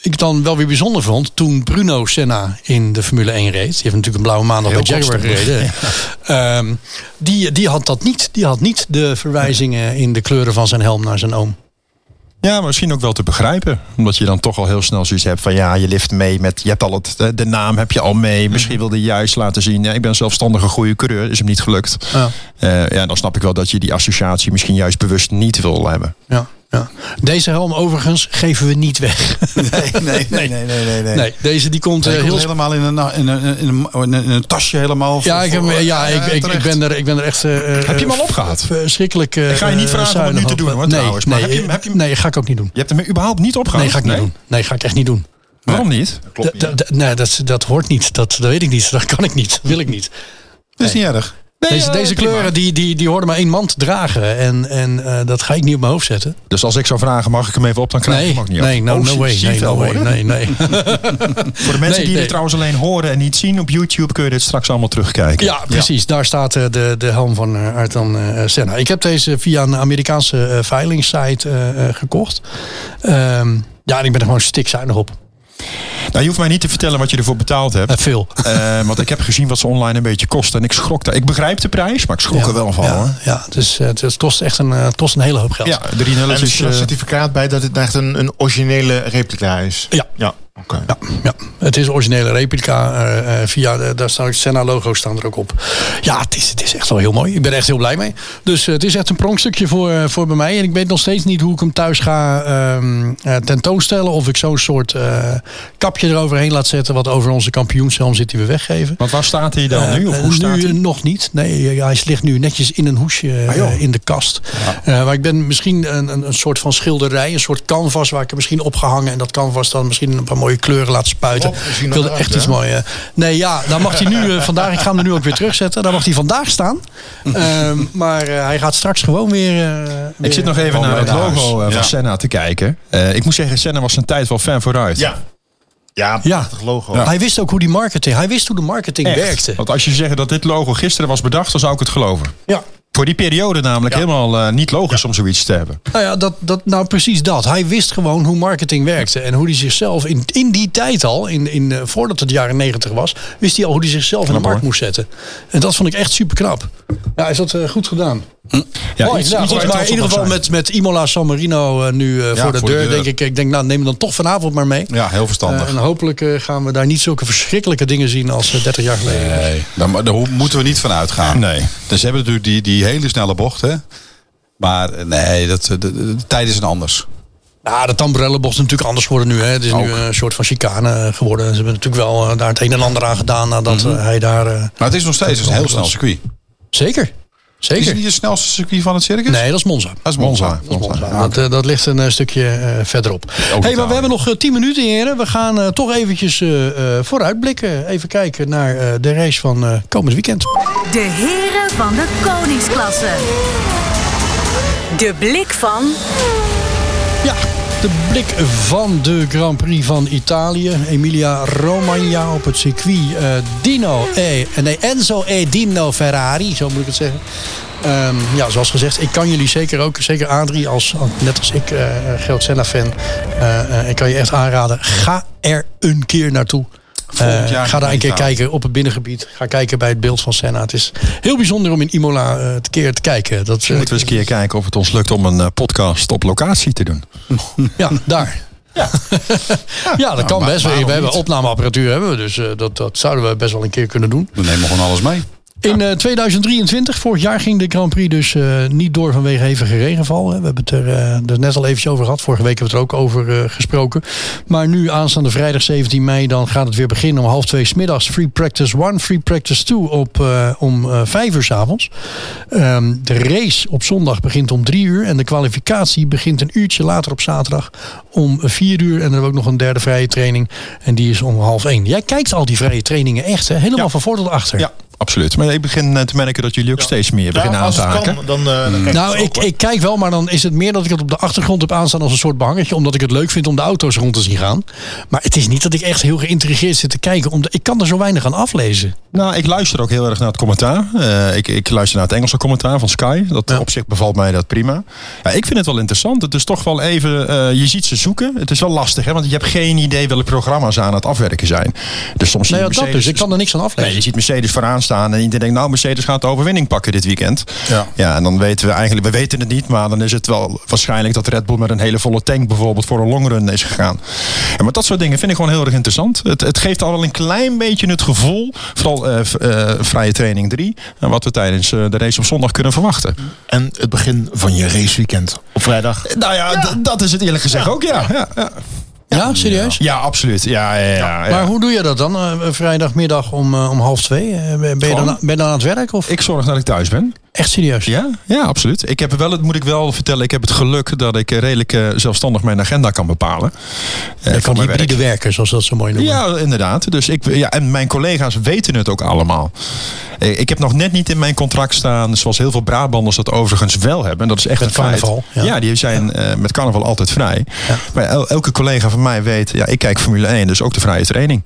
Speaker 2: ik dan wel weer bijzonder vond, toen Bruno Senna in de Formule 1 reed. Die heeft natuurlijk een blauwe maandag bij Jaguar gereden. Ehm, die, die had dat niet. Die had niet de verwijzingen in de kleuren van zijn helm naar zijn oom.
Speaker 5: Ja, maar misschien ook wel te begrijpen. Omdat je dan toch al heel snel zoiets hebt van ja, je lift mee met, je hebt al het, de- de naam heb je al
Speaker 2: Mhm.
Speaker 5: mee. Misschien wilde je juist laten zien, ja, ik ben een zelfstandige goede coureur, is hem niet gelukt.
Speaker 2: Ja.
Speaker 5: Eh, ja, dan snap ik wel dat je die associatie misschien juist bewust niet wil hebben.
Speaker 2: Ja, ja. Deze helm overigens geven we niet weg.
Speaker 4: Nee, <laughs> nee, nee, nee, nee,
Speaker 2: <laughs>
Speaker 4: nee.
Speaker 2: Nee, deze die komt eh,
Speaker 4: Hij
Speaker 2: heel
Speaker 4: komt helemaal in een, in, een, in, een, in een- in een tasje helemaal.
Speaker 2: Ja, ik, heb, hem- ja, ik, ik, ik,
Speaker 4: terecht.
Speaker 2: ben er, ik ben er echt.
Speaker 5: eh, Heb je hem al opgehaald?
Speaker 2: Verschrikkelijk. eh,
Speaker 5: Ik ga je niet
Speaker 2: eh,
Speaker 5: vragen om het nu
Speaker 2: zuinig
Speaker 5: te
Speaker 2: op.
Speaker 5: doen, hoor,
Speaker 2: nee,
Speaker 5: trouwens. Maar
Speaker 2: Nee,
Speaker 5: heb je hem- heb je hem-
Speaker 2: nee, ga ik ook niet doen.
Speaker 5: Je hebt hem überhaupt niet opgehaald?
Speaker 2: Nee, ga ik niet doen. Nee, ga ik echt niet doen.
Speaker 5: Waarom niet?
Speaker 2: D- d- d- nee, dat, dat hoort niet. Dat, dat weet ik niet. <laughs> Dat kan ik niet. Dat wil ik niet.
Speaker 4: Dat is niet erg.
Speaker 2: Deze, deze kleuren die, die, die hoorden maar één man te dragen. En, en eh, dat ga ik niet op mijn hoofd zetten.
Speaker 5: Dus als ik zou vragen, mag ik hem even op, dan krijg ik
Speaker 2: Nee,
Speaker 5: hem ook niet
Speaker 2: nee,
Speaker 5: op.
Speaker 2: no,
Speaker 5: Oh,
Speaker 2: no
Speaker 5: zie-
Speaker 2: way.
Speaker 5: zie je
Speaker 2: Nee,
Speaker 5: wel,
Speaker 2: no way.
Speaker 5: hoor.
Speaker 2: Nee,
Speaker 5: <laughs>
Speaker 2: nee.
Speaker 5: Voor de mensen
Speaker 2: Nee,
Speaker 5: die
Speaker 2: nee.
Speaker 5: dit trouwens alleen horen en niet zien op YouTube, kun je dit straks allemaal terugkijken.
Speaker 2: Ja, precies. Daar staat eh, de, de helm van eh, Ayrton eh, Senna. Ik heb deze via een Amerikaanse eh, veilingssite eh, eh, gekocht. Ehm, ja, en ik ben er gewoon stikzuinig op.
Speaker 5: Nou, je hoeft mij niet te vertellen wat je ervoor betaald hebt.
Speaker 2: Eh, veel.
Speaker 5: Eh, want ik heb gezien wat ze online een beetje kosten. En ik schrok daar. Ik begrijp de prijs, maar ik schrok er wel van.
Speaker 2: Ja,
Speaker 5: hoor.
Speaker 2: ja, dus eh, het, het kost echt een, eh, het kost een hele hoop geld.
Speaker 5: Ja, de Rinellis
Speaker 3: En er
Speaker 5: is...
Speaker 3: zit een
Speaker 5: eh,
Speaker 3: certificaat bij dat het echt een, een originele replica is.
Speaker 2: Ja.
Speaker 3: ja. Oké.
Speaker 2: Ja, het is een originele replica. eh, eh, via de, daar staan ook Senna-logo's staan er ook op. Ja, het is, het is echt wel heel mooi. Ik ben er echt heel blij mee. Dus eh, het is echt een pronkstukje voor, eh, voor bij mij. En ik weet nog steeds niet hoe ik hem thuis ga ehm, eh, tentoonstellen. Of ik zo'n soort eh, kapje eroverheen laat zetten. Wat over onze kampioenshelm zit die we weggeven.
Speaker 5: Want waar staat hij dan nu? Of
Speaker 2: Eh,
Speaker 5: hoe staat
Speaker 2: nu
Speaker 5: hij? Ah,
Speaker 2: nog niet. Nee, eh, hij ligt nu netjes in een hoesje eh, in de kast. Eh, maar ik ben misschien een, een, een soort van schilderij, een soort canvas waar ik hem misschien opgehangen en dat canvas dan misschien een paar mooie kleuren laat spuiten.
Speaker 5: Oh,
Speaker 3: Rob, we zien
Speaker 2: ik wilde
Speaker 3: dat
Speaker 2: echt
Speaker 3: uit,
Speaker 2: iets
Speaker 3: hè?
Speaker 2: moois. eh. Nee, ja, dan mag hij nu eh, <laughs> vandaag. Ik ga hem er nu ook weer terugzetten. Dan mag hij vandaag staan. Ehm, maar eh, hij gaat straks gewoon weer. eh, weer-
Speaker 5: Ik zit nog even
Speaker 4: Gewoon
Speaker 5: naar het
Speaker 4: bij de
Speaker 5: logo eh,
Speaker 4: huis.
Speaker 5: van
Speaker 4: Ja.
Speaker 5: Senna te kijken. Eh, ik moet zeggen, Senna was zijn tijd wel fan vooruit.
Speaker 3: Ja. Ja,
Speaker 2: Ja.
Speaker 3: prachtig logo.
Speaker 2: Hij wist ook hoe die marketing. Hij wist hoe de marketing werkte.
Speaker 5: Want als je zegt dat dit logo gisteren was bedacht, dan zou ik het geloven.
Speaker 2: Ja.
Speaker 5: Voor die periode namelijk
Speaker 3: Ja.
Speaker 5: helemaal eh, niet logisch om zoiets te hebben.
Speaker 2: Nou ja, dat, dat, nou precies dat. Hij wist gewoon hoe marketing werkte. En hoe hij zichzelf in, in die tijd al, in, in, eh, voordat het de jaren negentig was, wist hij al hoe hij zichzelf in de markt
Speaker 5: hoor.
Speaker 2: moest zetten. En dat vond ik echt super knap. Ja, is dat eh, goed gedaan?
Speaker 5: Ja,
Speaker 2: Mooi,
Speaker 5: iets-
Speaker 2: nou, goed,
Speaker 5: iets waar
Speaker 2: maar
Speaker 5: je
Speaker 2: in
Speaker 5: trots op
Speaker 2: ieder
Speaker 5: mag
Speaker 2: geval
Speaker 5: zijn.
Speaker 2: met, met Imola San Marino eh, nu eh, voor, de
Speaker 4: voor de
Speaker 2: deur,
Speaker 4: deur.
Speaker 2: denk ik. Ik denk, nou neem hem dan toch vanavond maar mee.
Speaker 4: Ja, heel verstandig.
Speaker 2: Eh, en hopelijk eh, gaan we daar niet zulke verschrikkelijke dingen zien als eh, 30 jaar geleden.
Speaker 4: Nee,
Speaker 5: eh,
Speaker 4: daar, mo- daar ho- moeten we niet van uitgaan.
Speaker 5: Nee.
Speaker 4: Dus ze hebben natuurlijk die, die hele snelle bocht, hè. Maar eh, nee, dat, de, de, de tijden zijn anders.
Speaker 2: Nou, de tambrellenbocht is natuurlijk anders geworden nu. Hè. Het is nu
Speaker 4: Ook.
Speaker 2: een soort van chicane eh, geworden. Ze hebben natuurlijk wel eh, daar het een en ander aan gedaan nadat
Speaker 4: Mhm.
Speaker 2: eh, hij daar... eh,
Speaker 4: Maar het is nog steeds een heel snel circuit.
Speaker 2: Zeker.
Speaker 4: Is
Speaker 2: Zeker.
Speaker 4: het niet het snelste circuit van het circus?
Speaker 2: Nee, dat is Monza.
Speaker 4: Dat is Monza.
Speaker 5: Monza.
Speaker 2: Monza. Dat, eh, dat ligt een eh, stukje eh, verderop. Hey, maar
Speaker 4: Italië.
Speaker 2: we hebben nog eh, 10 minuten, heren. We gaan eh, toch eventjes eh, eh, vooruitblikken. Even kijken naar eh, de race van eh, komend weekend.
Speaker 6: De heren van de koningsklasse. De blik van
Speaker 2: Ja, de blik van de Grand Prix van Italië. Emilia Romagna op het circuit. eh, Dino e, nee, Enzo e Dino Ferrari, zo moet ik het zeggen. Ehm, ja, zoals gezegd, ik kan jullie zeker ook, zeker Adrie, als, net als ik, eh Geld Senna-fan. eh, eh, ik kan je echt aanraden, ga er een keer naartoe.
Speaker 4: Volgend jaar
Speaker 2: Eh, ga daar een keer
Speaker 4: Italië.
Speaker 2: kijken op het binnengebied. Ga kijken bij het beeld van Senna. Het is heel bijzonder om in Imola eh, een keer te kijken. Dat, eh,
Speaker 5: Moeten we eens een keer kijken of het ons lukt om een eh, podcast op locatie te doen.
Speaker 2: <laughs> Ja, daar. Ja, ja dat kan
Speaker 4: Nou, maar
Speaker 2: best. We,
Speaker 4: waarom
Speaker 2: we hebben
Speaker 4: niet?
Speaker 2: opnameapparatuur, hebben we, dus eh, dat, dat zouden we best wel een keer kunnen doen.
Speaker 4: We nemen gewoon alles mee.
Speaker 2: In eh, 2023, vorig jaar ging de Grand Prix dus eh, niet door vanwege hevige regenval. Hè. We hebben het er eh, er net al eventjes over gehad. Vorige week hebben we het er ook over eh, gesproken. Maar nu aanstaande vrijdag 17 mei, dan gaat het weer beginnen om half twee 's middags. Free practice 1, free practice 2 op, eh, om eh, vijf uur s'avonds. Ehm de race op zondag begint om drie uur. En de kwalificatie begint een uurtje later op zaterdag om vier uur. En dan hebben we ook nog een derde vrije training. En die is om half één. Jij kijkt al die vrije trainingen echt, hè? Helemaal
Speaker 5: Ja.
Speaker 2: van voor tot achter.
Speaker 5: Ja, absoluut. Maar ik begin eh, te merken dat jullie ook steeds meer
Speaker 3: Ja,
Speaker 5: beginnen aan
Speaker 3: als
Speaker 5: te
Speaker 3: het
Speaker 5: haken.
Speaker 3: kan, dan, eh, dan
Speaker 5: <laughs>
Speaker 3: kijk
Speaker 2: Nou,
Speaker 3: het ook,
Speaker 2: ik,
Speaker 3: hoor.
Speaker 2: ik kijk wel, maar dan is het meer dat ik het op de achtergrond heb aanstaan als een soort behangetje. Omdat ik het leuk vind om de auto's rond te zien gaan. Maar het is niet dat ik echt heel geïntrigeerd zit te kijken. Omdat ik kan er zo weinig aan aflezen.
Speaker 5: Nou, ik luister ook heel erg naar het commentaar. Eh, ik, ik luister naar het Engelse commentaar van Sky. Dat op zich bevalt mij dat prima. Ja, ik vind het wel interessant. Het is toch wel even. eh, je ziet ze zoeken. Het is wel lastig, hè? Want je hebt geen idee welke programma's ze aan het afwerken zijn. Dus soms zie
Speaker 2: Nee,
Speaker 5: je
Speaker 2: ja, dat
Speaker 5: Mercedes-
Speaker 2: dus. Ik kan er niks aan aflezen.
Speaker 5: Nee, je ziet Mercedes vooraan staan en iedereen denkt, nou, Mercedes gaat de overwinning pakken dit weekend.
Speaker 4: Ja.
Speaker 5: ja, en dan weten we eigenlijk, we weten het niet, maar dan is het wel waarschijnlijk dat Red Bull met een hele volle tank bijvoorbeeld voor een longrun is gegaan. En maar dat soort dingen vind ik gewoon heel erg interessant. Het, het geeft al wel een klein beetje het gevoel, vooral eh, v- eh, vrije training 3, en wat we tijdens eh, de race op zondag kunnen verwachten.
Speaker 3: En het begin van je raceweekend op vrijdag.
Speaker 5: Nou ja, d- dat is het eerlijk gezegd ook, ja. Ja, ja.
Speaker 2: ja, serieus?
Speaker 5: Ja, absoluut. Ja, ja, ja, ja.
Speaker 2: Maar hoe doe je dat dan? eh, vrijdagmiddag om, eh, om half twee? Eh, ben, je dan,
Speaker 5: Gewoon.
Speaker 2: ben je dan aan het werk? Of?
Speaker 5: Ik zorg dat ik thuis ben.
Speaker 2: Echt serieus?
Speaker 5: Ja, ja, absoluut. Ik heb wel, het moet ik wel vertellen, ik heb het geluk dat ik eh, redelijk eh, zelfstandig mijn agenda kan bepalen. Eh,
Speaker 2: Je
Speaker 5: voor
Speaker 2: kan
Speaker 5: mijn
Speaker 2: hybride
Speaker 5: werk.
Speaker 2: werken, zoals dat zo mooi noemen.
Speaker 5: Ja, inderdaad. Dus ik, ja, en mijn collega's weten het ook allemaal. Eh, Ik heb nog net niet in mijn contract staan, zoals heel veel Brabanders dat overigens wel hebben. En dat is echt
Speaker 2: Met
Speaker 5: een feit.
Speaker 2: carnaval, ja.
Speaker 5: Ja. die zijn eh, met carnaval altijd vrij. Maar el- elke collega van mij weet, ja, ik kijk Formule 1, dus ook de vrije training.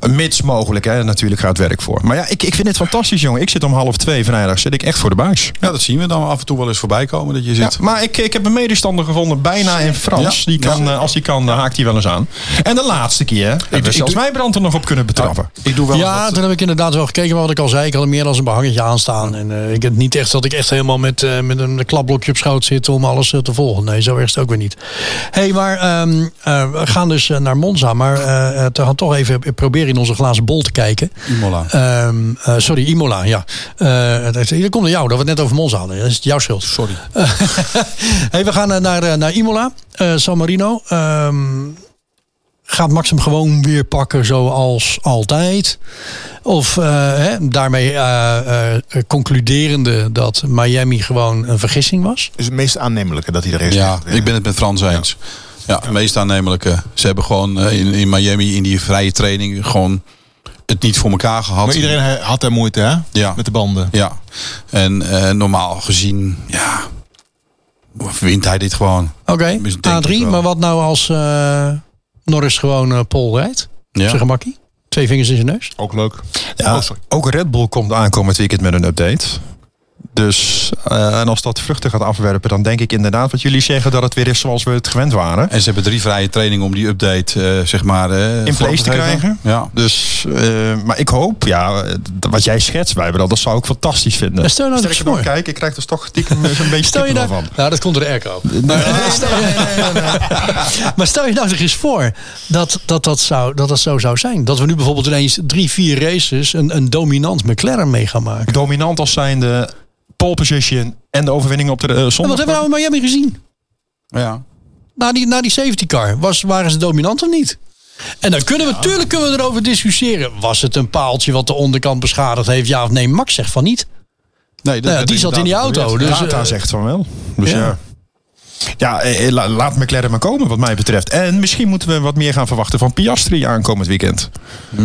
Speaker 5: Eh, Mits mogelijk, hè, natuurlijk gaat werk voor. Maar ja, ik, ik vind het fantastisch, jongen. Ik zit om half twee vrijdag, zit ik echt voor de buis.
Speaker 4: Ja, dat zien we dan af en toe wel eens voorbij komen. Dat je
Speaker 5: Ja,
Speaker 4: zit.
Speaker 5: maar ik, ik heb een medestander gevonden, bijna in Frans.
Speaker 4: Ja.
Speaker 5: Die kan, eh, als die kan, eh, haakt hij wel eens aan. En de laatste keer hebben we
Speaker 4: ik
Speaker 5: zelfs
Speaker 4: doe-
Speaker 5: mijn brand er nog op kunnen betrappen.
Speaker 4: Ik doe wel
Speaker 2: Ja,
Speaker 4: wat-
Speaker 2: toen heb ik inderdaad wel gekeken. Maar wat ik al zei, ik had er meer dan een behangetje aan staan. En eh, ik heb niet echt dat ik echt helemaal met, eh, met een klapblokje op schoot zit om alles eh, te volgen. Nee, zo erg is het ook weer niet. Hé, hey, maar ehm, eh, we gaan dus eh, naar Monza. Maar eh, eh, te gaan toch even proberen in onze glazen bol te kijken.
Speaker 4: Imola.
Speaker 2: Ehm, eh, sorry, Imola, ja. Eh dat, dat komt door jou, dat we het net over Monza hadden. Dat is jouw schuld.
Speaker 4: Sorry.
Speaker 2: <laughs> hey, we gaan eh, naar, eh, naar Imola, eh, San Marino. Ehm, gaat Max hem gewoon weer pakken zoals altijd? Of eh, hè, daarmee eh, eh, concluderende dat Miami gewoon een vergissing was?
Speaker 3: Dus het meest aannemelijke dat hij er is. eh,
Speaker 4: Ja, ik ben het met Frans eens. Ja, meest aannemelijke. Ze hebben gewoon eh, in, in Miami in die vrije training gewoon het niet voor elkaar gehad.
Speaker 3: Maar iedereen eh, had daar moeite, hè?
Speaker 4: Ja.
Speaker 3: Met de banden.
Speaker 4: Ja, en eh, normaal gezien, ja, wint hij dit gewoon.
Speaker 2: Oké,
Speaker 4: Dus denk ik
Speaker 2: A3,
Speaker 4: wel.
Speaker 2: maar wat nou als eh, Norris gewoon eh Pol rijdt?
Speaker 4: Ja.
Speaker 2: Op zijn gemakkie? Twee vingers in zijn neus?
Speaker 3: Ook leuk.
Speaker 5: Ja,
Speaker 3: Oh, sorry.
Speaker 5: ook Red Bull komt aankomend weekend met een update. Dus, eh, en als dat vruchten gaat afwerpen, dan denk ik inderdaad wat jullie zeggen dat het weer is zoals we het gewend waren.
Speaker 4: En ze hebben drie vrije trainingen om die update, eh, zeg maar, eh, vorm
Speaker 5: place te
Speaker 4: geven.
Speaker 5: krijgen?
Speaker 4: Ja.
Speaker 5: Dus, eh, maar ik hoop, ja, eh, wat jij schetst bij me, dat zou ik fantastisch vinden.
Speaker 2: Ja, stel nou dat
Speaker 5: Sterker
Speaker 2: het is
Speaker 5: nog,
Speaker 2: mooi.
Speaker 5: kijk, ik krijg dus toch stiekem een beetje
Speaker 2: Stel je
Speaker 5: kippenvel
Speaker 2: nou,
Speaker 5: van.
Speaker 2: nou, dat komt door de airco. Maar stel je nou zich eens voor dat dat, dat, zou, dat dat zo zou zijn. Dat we nu bijvoorbeeld ineens drie, vier races een, een dominant McLaren mee gaan maken.
Speaker 5: Dominant als zijnde pole position en de overwinning op de eh,
Speaker 2: En wat
Speaker 5: zondag.
Speaker 2: hebben we nou in Miami gezien?
Speaker 4: ja.
Speaker 2: Na die, na die safety car, was, waren ze dominant of niet? En dan kunnen we, tuurlijk kunnen we erover discussiëren. Was het een paaltje wat de onderkant beschadigd heeft? Ja of nee? Max zegt van niet.
Speaker 4: Nee,
Speaker 2: Nou ja,
Speaker 4: werd
Speaker 2: die zat in die
Speaker 4: inderdaad
Speaker 2: auto. Dus,
Speaker 4: geprobeerd.
Speaker 5: Tata
Speaker 2: eh,
Speaker 5: zegt van wel. Dus
Speaker 2: ja.
Speaker 5: ja. ja. eh, eh, la- laat McLaren maar komen wat mij betreft. En misschien moeten we wat meer gaan verwachten van Piastri aankomend weekend.
Speaker 2: dus-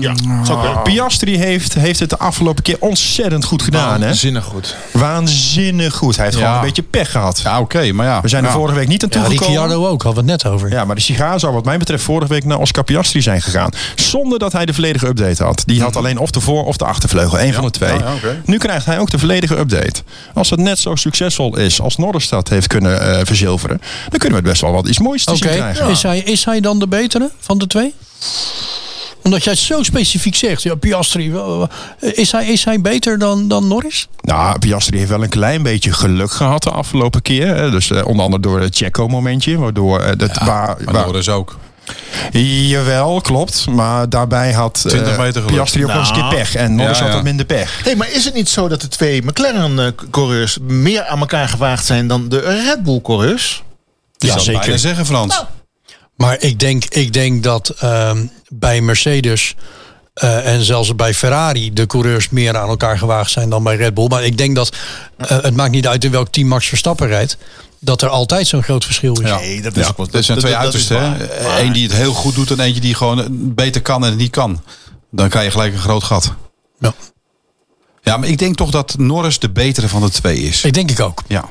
Speaker 3: Ja.
Speaker 2: Ah.
Speaker 5: Piastri heeft, heeft het de afgelopen keer ontzettend goed
Speaker 4: Nou,
Speaker 5: gedaan.
Speaker 2: Nou,
Speaker 5: Hè?
Speaker 3: Zinnig goed.
Speaker 5: Waanzinnig goed. Hij heeft
Speaker 4: Ja.
Speaker 5: gewoon een beetje pech gehad.
Speaker 4: Ja, oké, maar ja.
Speaker 5: We zijn er
Speaker 4: Ja.
Speaker 5: vorige week niet aan
Speaker 2: Nou. Ja,
Speaker 5: toegekomen. Ja,
Speaker 2: Ricciardo ook, hadden we het net over.
Speaker 5: maar de sigaar zou wat mij betreft vorige week naar Oscar Piastri zijn gegaan. Zonder dat hij de volledige update had. Die had alleen of de voor- of de achtervleugel. Eén van de twee.
Speaker 4: Mhm. Ja, ja, oké.
Speaker 5: Nu krijgt hij ook de volledige update. Als het net zo succesvol is als Norris dat heeft kunnen eh, verzilveren... dan kunnen we het best wel wat iets moois te
Speaker 2: Oké,
Speaker 5: zien krijgen.
Speaker 2: is, hij, is hij dan de betere van de twee? Omdat jij het zo specifiek zegt. Ja, Piastri. wa- wa- Is hij, is hij beter dan, dan Norris?
Speaker 5: Nou, Piastri heeft wel een klein beetje geluk gehad de afgelopen keer. hè. Dus eh, onder andere door het Checo-momentje. Waardoor eh, dat... waar,
Speaker 4: Maar
Speaker 5: waar-
Speaker 4: Norris ook.
Speaker 5: Jawel, klopt. Maar daarbij had eh,
Speaker 4: 20 meter geluk.
Speaker 5: Piastri ook wel eens een keer
Speaker 3: Nou.
Speaker 5: pech. En Norris
Speaker 4: Ja,
Speaker 5: had
Speaker 4: ja.
Speaker 5: wat minder pech.
Speaker 3: Hey, maar is het niet zo dat de twee McLaren-coureurs meer aan elkaar gewaagd zijn dan de Red Bull-coureurs?
Speaker 4: Die ja,
Speaker 2: zou
Speaker 4: zeker.
Speaker 2: bijna
Speaker 4: zeggen, Frans.
Speaker 2: Nou, Maar ik denk, ik denk dat ehm, bij Mercedes eh, en zelfs bij Ferrari de coureurs meer aan elkaar gewaagd zijn dan bij Red Bull. Maar ik denk dat eh, het maakt niet uit in welk team Max Verstappen rijdt. Dat er altijd zo'n groot verschil is.
Speaker 4: Ja.
Speaker 3: Nee, dat is ook wel-
Speaker 4: Er zijn
Speaker 3: dat-
Speaker 4: twee
Speaker 3: dat- dat
Speaker 4: uitersten.
Speaker 3: is
Speaker 4: hè.
Speaker 3: waar. Maar-
Speaker 4: Eén die het heel goed doet en eentje die gewoon beter kan en het niet kan. Dan krijg je gelijk een groot gat.
Speaker 2: Ja.
Speaker 4: Ja, maar ik denk toch dat Norris de betere van de twee is.
Speaker 2: Ik denk ik ook.
Speaker 4: Ja.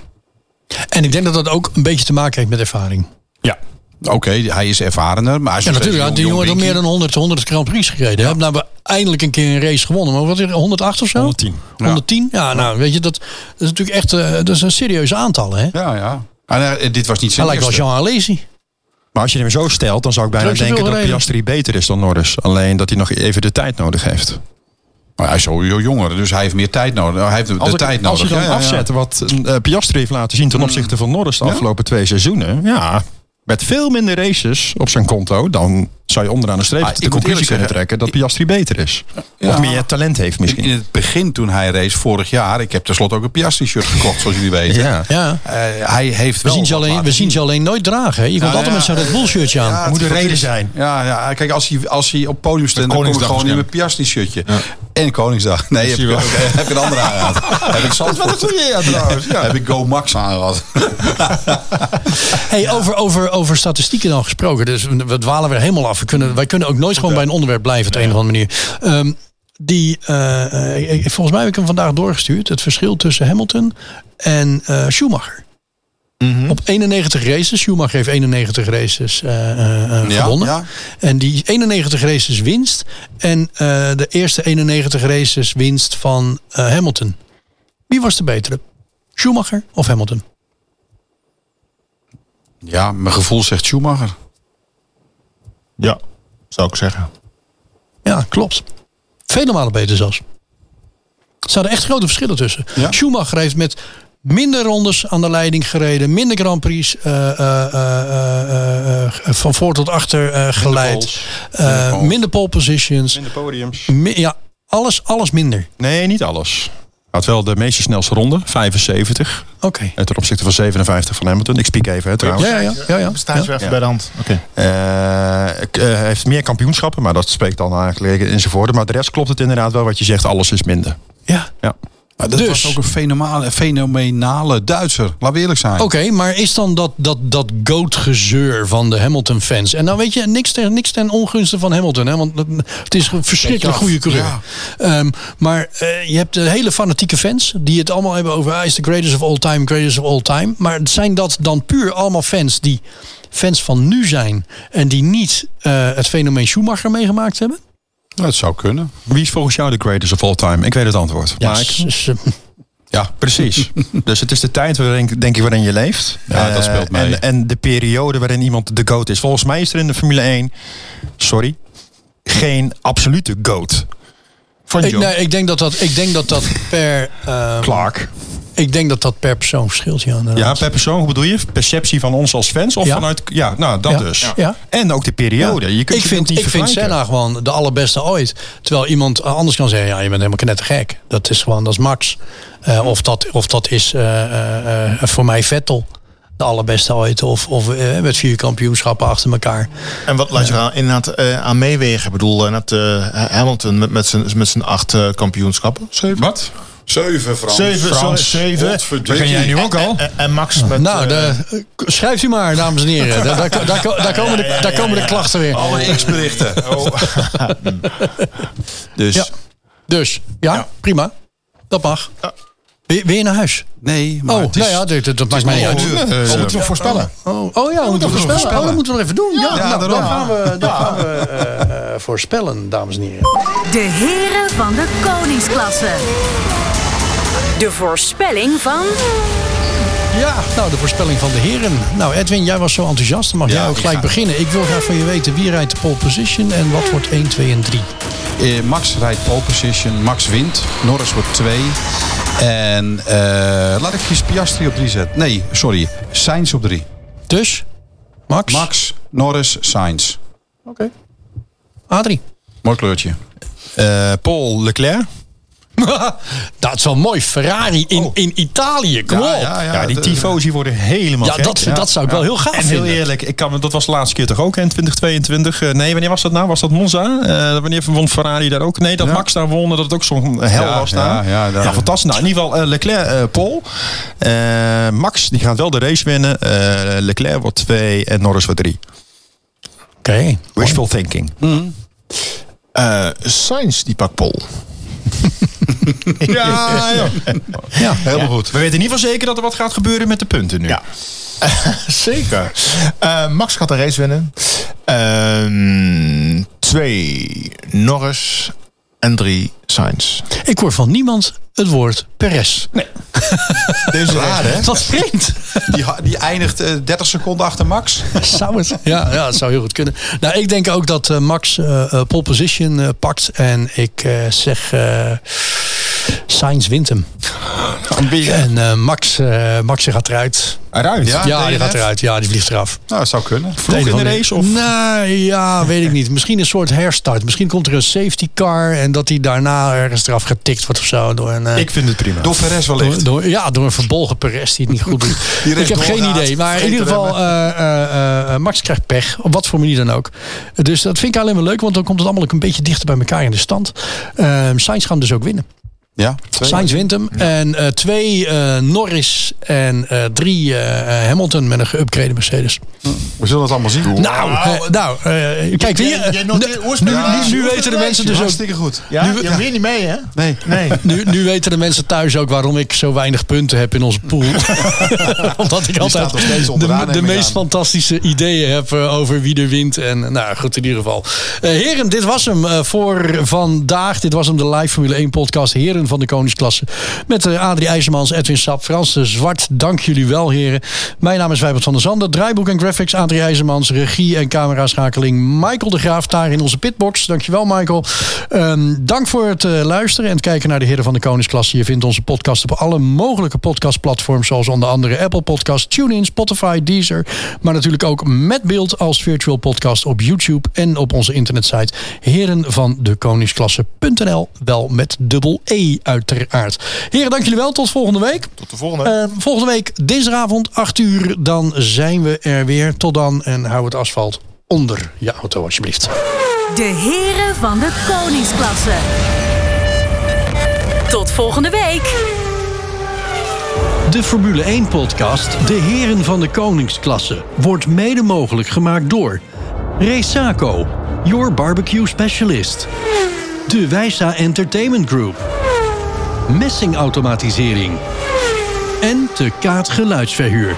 Speaker 2: En ik denk dat dat ook een beetje te maken heeft met ervaring.
Speaker 5: Ja.
Speaker 4: Oké, hij is ervarener, maar hij is
Speaker 2: Ja,
Speaker 4: nog
Speaker 2: natuurlijk.
Speaker 4: steeds
Speaker 2: had die
Speaker 4: een jong-
Speaker 2: jongen had
Speaker 4: jong
Speaker 2: meer dan 100, 100 Grand Prix gereden. hè. Nou, we eindelijk een keer een race gewonnen. Maar wat is het, 108 of zo?
Speaker 5: 110.
Speaker 2: 110? Ja, nou, weet je, dat, dat is natuurlijk echt eh, dat is een serieus aantal, hè?
Speaker 4: Ja, ja. En eh, dit was niet
Speaker 2: Hij
Speaker 4: zijn
Speaker 2: lijkt wel
Speaker 4: eerste.
Speaker 2: Jean Alesi.
Speaker 5: Maar als je hem zo stelt, dan zou ik bijna
Speaker 2: Zo is het
Speaker 5: denken
Speaker 2: wel
Speaker 5: dat
Speaker 2: gereden.
Speaker 5: Piastri beter is dan Norris. Alleen dat hij nog even de tijd nodig heeft.
Speaker 4: Maar hij is sowieso jonger, dus hij heeft meer tijd nodig. Hij heeft de
Speaker 5: Als, ik-
Speaker 4: tijd nodig.
Speaker 5: als je dan
Speaker 4: Ja, ja, ja.
Speaker 5: afzet wat eh, Piastri heeft laten zien ten opzichte van Norris de afgelopen twee seizoenen. Ja, met veel minder races op zijn konto. Dan zou je onderaan de streep
Speaker 4: Ah, ik
Speaker 5: de
Speaker 4: moet
Speaker 5: conclusie
Speaker 4: eerlijk
Speaker 5: kunnen
Speaker 4: zeggen,
Speaker 5: trekken dat Piastri beter is.
Speaker 4: Ja.
Speaker 5: Of meer talent heeft
Speaker 4: In, in
Speaker 5: misschien.
Speaker 4: het begin toen hij race vorig jaar, ik heb tenslotte ook een Piastri-shirt gekocht, zoals jullie weten.
Speaker 5: Ja.
Speaker 2: Ja.
Speaker 4: Eh, hij heeft
Speaker 2: We
Speaker 4: wel.
Speaker 2: zien, ze alleen,
Speaker 4: wat
Speaker 2: we
Speaker 4: laten Nou
Speaker 2: zien ze alleen nooit dragen. Hè? Je komt
Speaker 4: Ja, eh,
Speaker 2: altijd
Speaker 4: ja,
Speaker 2: met zo'n Red Bull shirtje aan.
Speaker 5: moet een reden zijn.
Speaker 4: Ja, ja, kijk, als hij, als hij op het podium staat, dan kom ik
Speaker 3: Koningsdag
Speaker 4: gewoon in mijn Piastri-shirtje. En Koningsdag. Nee, heb ik, ook, heb ik een
Speaker 5: <laughs>
Speaker 4: andere aangehad. heb ik Zandvoort. <laughs>
Speaker 5: ja, trouwens.
Speaker 4: Heb ik Go Max aangehad.
Speaker 2: Hey, over, over, over statistieken dan gesproken. Dus we- we dwalen weer helemaal af. We kunnen, wij kunnen ook nooit gewoon bij een onderwerp blijven, op de een of andere manier. Ehm, die, eh, eh, ik- volgens mij heb ik hem vandaag doorgestuurd. Het verschil tussen Hamilton en eh, Schumacher.
Speaker 4: Mhm.
Speaker 2: Op 91 races. Schumacher heeft 91 races eh, eh, eh,
Speaker 4: Ja,
Speaker 2: gewonnen.
Speaker 4: ja.
Speaker 2: En die 91 races winst. En eh, de eerste 91 races winst van eh, Hamilton. Wie was de betere? Schumacher of Hamilton?
Speaker 4: Ja, mijn gevoel zegt Schumacher.
Speaker 3: Ja, zou ik zeggen.
Speaker 2: Ja, klopt. Vele malen beter zelfs. Er zaten echt grote verschillen tussen.
Speaker 4: Ja.
Speaker 2: Schumacher heeft met minder rondes aan de leiding gereden. Minder Grand Prix eh, eh, eh, eh, eh, van voor tot achter eh, geleid.
Speaker 4: poles.
Speaker 2: Eh,
Speaker 4: Minder poles.
Speaker 2: minder pole positions.
Speaker 5: In de podiums.
Speaker 2: Mi- ja, alles, alles minder.
Speaker 5: Nee, niet alles. Hij had wel de meeste snelste ronde, 75.
Speaker 2: Oké.
Speaker 5: eh, Ten opzichte van 57 van Hamilton. Ik spiek even, hè, trouwens.
Speaker 2: Ja, ja, ja. ja, ja.
Speaker 3: Staan ze
Speaker 2: Ja.
Speaker 3: even bij de hand. Oké.
Speaker 5: Eh, ik, eh, hij heeft meer kampioenschappen, maar dat spreekt dan eigenlijk in zijn voordeel. Maar de rest klopt het inderdaad wel wat je zegt. Alles is minder.
Speaker 2: Ja.
Speaker 5: Ja.
Speaker 4: Maar dat
Speaker 2: Dus.
Speaker 4: was ook een fenomenale, fenomenale Duitser. Laat we eerlijk zijn.
Speaker 2: Oké, maar is dan dat, dat, dat goat-gezeur van de Hamilton-fans? En nou weet je, niks ten, niks ten ongunste van Hamilton, hè, want dat- het is een verschrikkelijk
Speaker 4: Beetje
Speaker 2: goede
Speaker 4: af,
Speaker 2: coureur. Ehm, maar eh, je hebt de hele fanatieke fans die het allemaal hebben over... hij is de greatest of all time, greatest of all time. Maar zijn dat dan puur allemaal fans die fans van nu zijn... en die niet eh, het fenomeen Schumacher meegemaakt hebben?
Speaker 4: Dat zou kunnen.
Speaker 5: Wie is volgens jou de greatest of all time? Ik weet het antwoord. Maar ik-
Speaker 2: s- s-
Speaker 5: ja <laughs> precies. dus het is de tijd waarin, denk ik waarin je leeft.
Speaker 4: Ja, dat
Speaker 5: Eh,
Speaker 4: speelt mee.
Speaker 5: En, en de periode waarin iemand de goat is. Volgens mij is er in de Formule 1, sorry, geen absolute goat. Van
Speaker 2: ik,
Speaker 5: John
Speaker 2: nee, ik denk dat dat, ik denk dat, dat per... ehm,
Speaker 5: Clark.
Speaker 2: ik denk dat dat per persoon verschilt, ja. inderdaad.
Speaker 5: Ja, per persoon, hoe bedoel je? Perceptie van ons als fans? Of
Speaker 2: Ja.
Speaker 5: vanuit, ja, nou dat
Speaker 2: Ja.
Speaker 5: dus.
Speaker 2: Ja.
Speaker 5: En ook de periode. Je kunt
Speaker 2: ik
Speaker 5: je
Speaker 2: vind,
Speaker 5: niet
Speaker 2: ik vind
Speaker 5: vergelijken.
Speaker 2: Senna gewoon de allerbeste ooit. Terwijl iemand eh, anders kan zeggen, ja, je bent helemaal knettergek. Dat is gewoon, dat is Max. Eh, of, dat, of dat is eh, eh, eh, voor mij Vettel. De allerbeste ooit. Of, of eh, met vier kampioenschappen achter elkaar.
Speaker 3: En wat laat je er aan- inderdaad eh, aan meewegen? Ik bedoel, inderdaad, eh, Hamilton met, met zijn met zijn acht eh, kampioenschappen. Zeven?
Speaker 5: Wat?
Speaker 4: Zeven, Frans.
Speaker 3: Zeven, sorry, zeven.
Speaker 5: Begin jij nu ook al?
Speaker 3: En, en Max met...
Speaker 2: nou,
Speaker 3: eh,
Speaker 2: de- schrijft u maar, dames en heren. daar, daar, daar, daar komen de, daar komen de klachten weer.
Speaker 4: Alle X-berichten.
Speaker 5: Dus
Speaker 2: Ja. Dus, ja, prima. Dat mag. Wil, je- wil je naar huis?
Speaker 4: Nee, maar
Speaker 2: Oh,
Speaker 4: het is... Oh, eh,
Speaker 2: nou ja, dit- dit- dat maakt mij niet uit.
Speaker 3: dat moeten we voorspellen.
Speaker 2: Oh, oh ja, we moeten voorspellen. Oh, dat moeten we nog even doen. Ja, nou, dan gaan we, dan gaan we eh, eh, voorspellen, dames en heren.
Speaker 6: De heren van de koningsklasse. De voorspelling van
Speaker 2: Ja, nou, de voorspelling van de heren. Nou, Edwin, jij was zo enthousiast. Dan mag jij ook
Speaker 4: ik
Speaker 2: gelijk
Speaker 4: ga-
Speaker 2: beginnen. Ik wil graag van je weten wie rijdt de pole position en wat wordt 1, 2 en 3.
Speaker 4: Eh, Max rijdt pole position. Max wint. Norris wordt twee. En eh, laat ik eens Piastri op drie zetten. Nee, sorry. Sainz op drie.
Speaker 2: Dus, Max,
Speaker 4: Max, Norris, Sainz.
Speaker 2: Adrie.
Speaker 4: Mooi kleurtje.
Speaker 5: eh, Paul Leclerc.
Speaker 2: <laughs> dat is wel mooi. Ferrari in, in Italië. Kom op. Oh. Ja,
Speaker 5: Ja, die
Speaker 4: dat-
Speaker 5: tifosi worden helemaal gek.
Speaker 2: dat, dat zou ik wel heel gaaf
Speaker 5: En heel
Speaker 2: vinden.
Speaker 5: eerlijk, ik kan, me- dat was de laatste keer toch ook, hè, in 2022. Eh, nee, wanneer was dat nou? Was dat Monza? Eh, wanneer won Ferrari daar ook? Nee, dat Max daar won, dat het ook zo'n hel
Speaker 4: Ja,
Speaker 5: was daar.
Speaker 4: ja, ja, daar-
Speaker 5: fantastisch. Nou, in ieder geval eh, Leclerc, eh Paul. Eh, Max, die gaat wel de race winnen. Eh, Leclerc wordt twee en Norris wordt drie.
Speaker 2: Oké.
Speaker 5: Wishful thinking.
Speaker 3: Eh Sainz, die pakt Pol.
Speaker 5: <laughs> Ja, ja.
Speaker 2: Ja.
Speaker 5: Helemaal goed. We weten in ieder geval zeker dat er wat gaat gebeuren met de punten nu.
Speaker 3: Ja. Zeker. Eh, Max gaat de race winnen. Ehm, twee, Norris. En drie, Sainz.
Speaker 2: Ik hoor van niemand het woord Perez.
Speaker 3: Deze raar, hè?
Speaker 2: Dat vreemd.
Speaker 4: Die, ha- die eindigt eh, 30 seconden achter
Speaker 5: <laughs>
Speaker 4: Max.
Speaker 2: Zou het? Ja, ja, het zou heel goed kunnen. Nou, ik denk ook dat eh, Max eh, eh, pole position eh, pakt. En ik eh, zeg... eh Sainz wint hem. En eh, Max, eh, Max die gaat eruit.
Speaker 5: Eruit.
Speaker 4: Ja,
Speaker 2: ja, die
Speaker 4: DNF?
Speaker 2: gaat eruit. Ja, die vliegt eraf.
Speaker 4: Nou, dat zou kunnen.
Speaker 5: Vroeg in de race of...
Speaker 2: Nee, ja, weet ik niet. Misschien een soort herstart. Misschien komt er een safety car en dat hij daarna ergens eraf getikt wordt of zo. Door een, eh,
Speaker 5: Ik vind het prima.
Speaker 4: Door Perez wellicht.
Speaker 2: door, door- ja, door een verbolgen Perez die het niet
Speaker 3: <laughs>
Speaker 2: goed doet.
Speaker 4: Die
Speaker 2: ik
Speaker 4: recht
Speaker 2: heb geen
Speaker 4: doorgaat,
Speaker 2: idee. Maar in
Speaker 4: vergeet
Speaker 2: ieder
Speaker 4: te
Speaker 2: geval, eh, eh, eh, Max krijgt pech. Op wat voor manier dan ook. Dus dat vind ik alleen maar leuk. Want dan komt het allemaal ook een beetje dichter bij elkaar in de stand. Ehm Sainz gaat hem dus ook winnen.
Speaker 4: Ja,
Speaker 2: Sainz wint hem. En eh, twee eh, Norris en eh, drie eh, eh, Hamilton met een geüpgrade Mercedes.
Speaker 4: We zullen het allemaal zien.
Speaker 2: Nou, eh, nou eh, kijk weer.
Speaker 3: Jij- jij noteert
Speaker 2: Nu,
Speaker 3: oorsprong. Ja,
Speaker 2: nu, nu
Speaker 3: oorsprong
Speaker 2: weten de
Speaker 3: lijstje.
Speaker 2: mensen dus ook
Speaker 4: Hartstikke goed.
Speaker 3: Ja,
Speaker 2: Nu-
Speaker 3: je weet niet mee, hè?
Speaker 4: Nee.
Speaker 3: Nee.
Speaker 2: Nu, nu weten de mensen thuis ook waarom ik zo weinig punten heb in onze
Speaker 4: <laughs>
Speaker 2: pool. Omdat ik altijd
Speaker 4: staat nog steeds
Speaker 2: de,
Speaker 4: onderaan,
Speaker 2: de
Speaker 4: neem ik
Speaker 2: meest
Speaker 4: aan.
Speaker 2: fantastische ideeën heb eh, over wie er wint. En eh, nou goed, in ieder geval. Eh, heren, dit was hem eh, voor vandaag. Dit was hem, de live Formule 1 podcast. Heren heren van de koningsklasse. Met eh, Adrie IJzermans, Edwin Sap, Frans de Zwart. Dank jullie wel, heren. Mijn naam is Wijbert van der Zanden. Draaiboek en graphics, Adrie IJzermans. Regie en cameraschakeling, Michael de Graaf. Daar in onze pitbox. Dankjewel, Michael. Ehm, dank voor het eh, luisteren en het kijken naar de heren van de koningsklasse. Je vindt onze podcast op alle mogelijke podcastplatforms. Zoals onder andere Apple Podcasts, TuneIn, Spotify, Deezer. Maar natuurlijk ook met beeld als virtual podcast op YouTube en op onze internetsite herenvandekoningsklasse.nl. Wel met dubbel E uiteraard. Heren, dank jullie wel. Tot volgende week.
Speaker 3: Tot de volgende.
Speaker 2: Eh, volgende week dinsdagavond 8 uur. Dan zijn we er weer. Tot dan en hou het asfalt onder je auto alsjeblieft.
Speaker 6: De heren van de koningsklasse. Tot volgende week.
Speaker 1: De Formule 1-podcast De Heren van de Koningsklasse wordt mede mogelijk gemaakt door Resaco, your barbecue specialist. De Wijsa Entertainment Group. Messingautomatisering. En de Kaat Geluidsverhuur.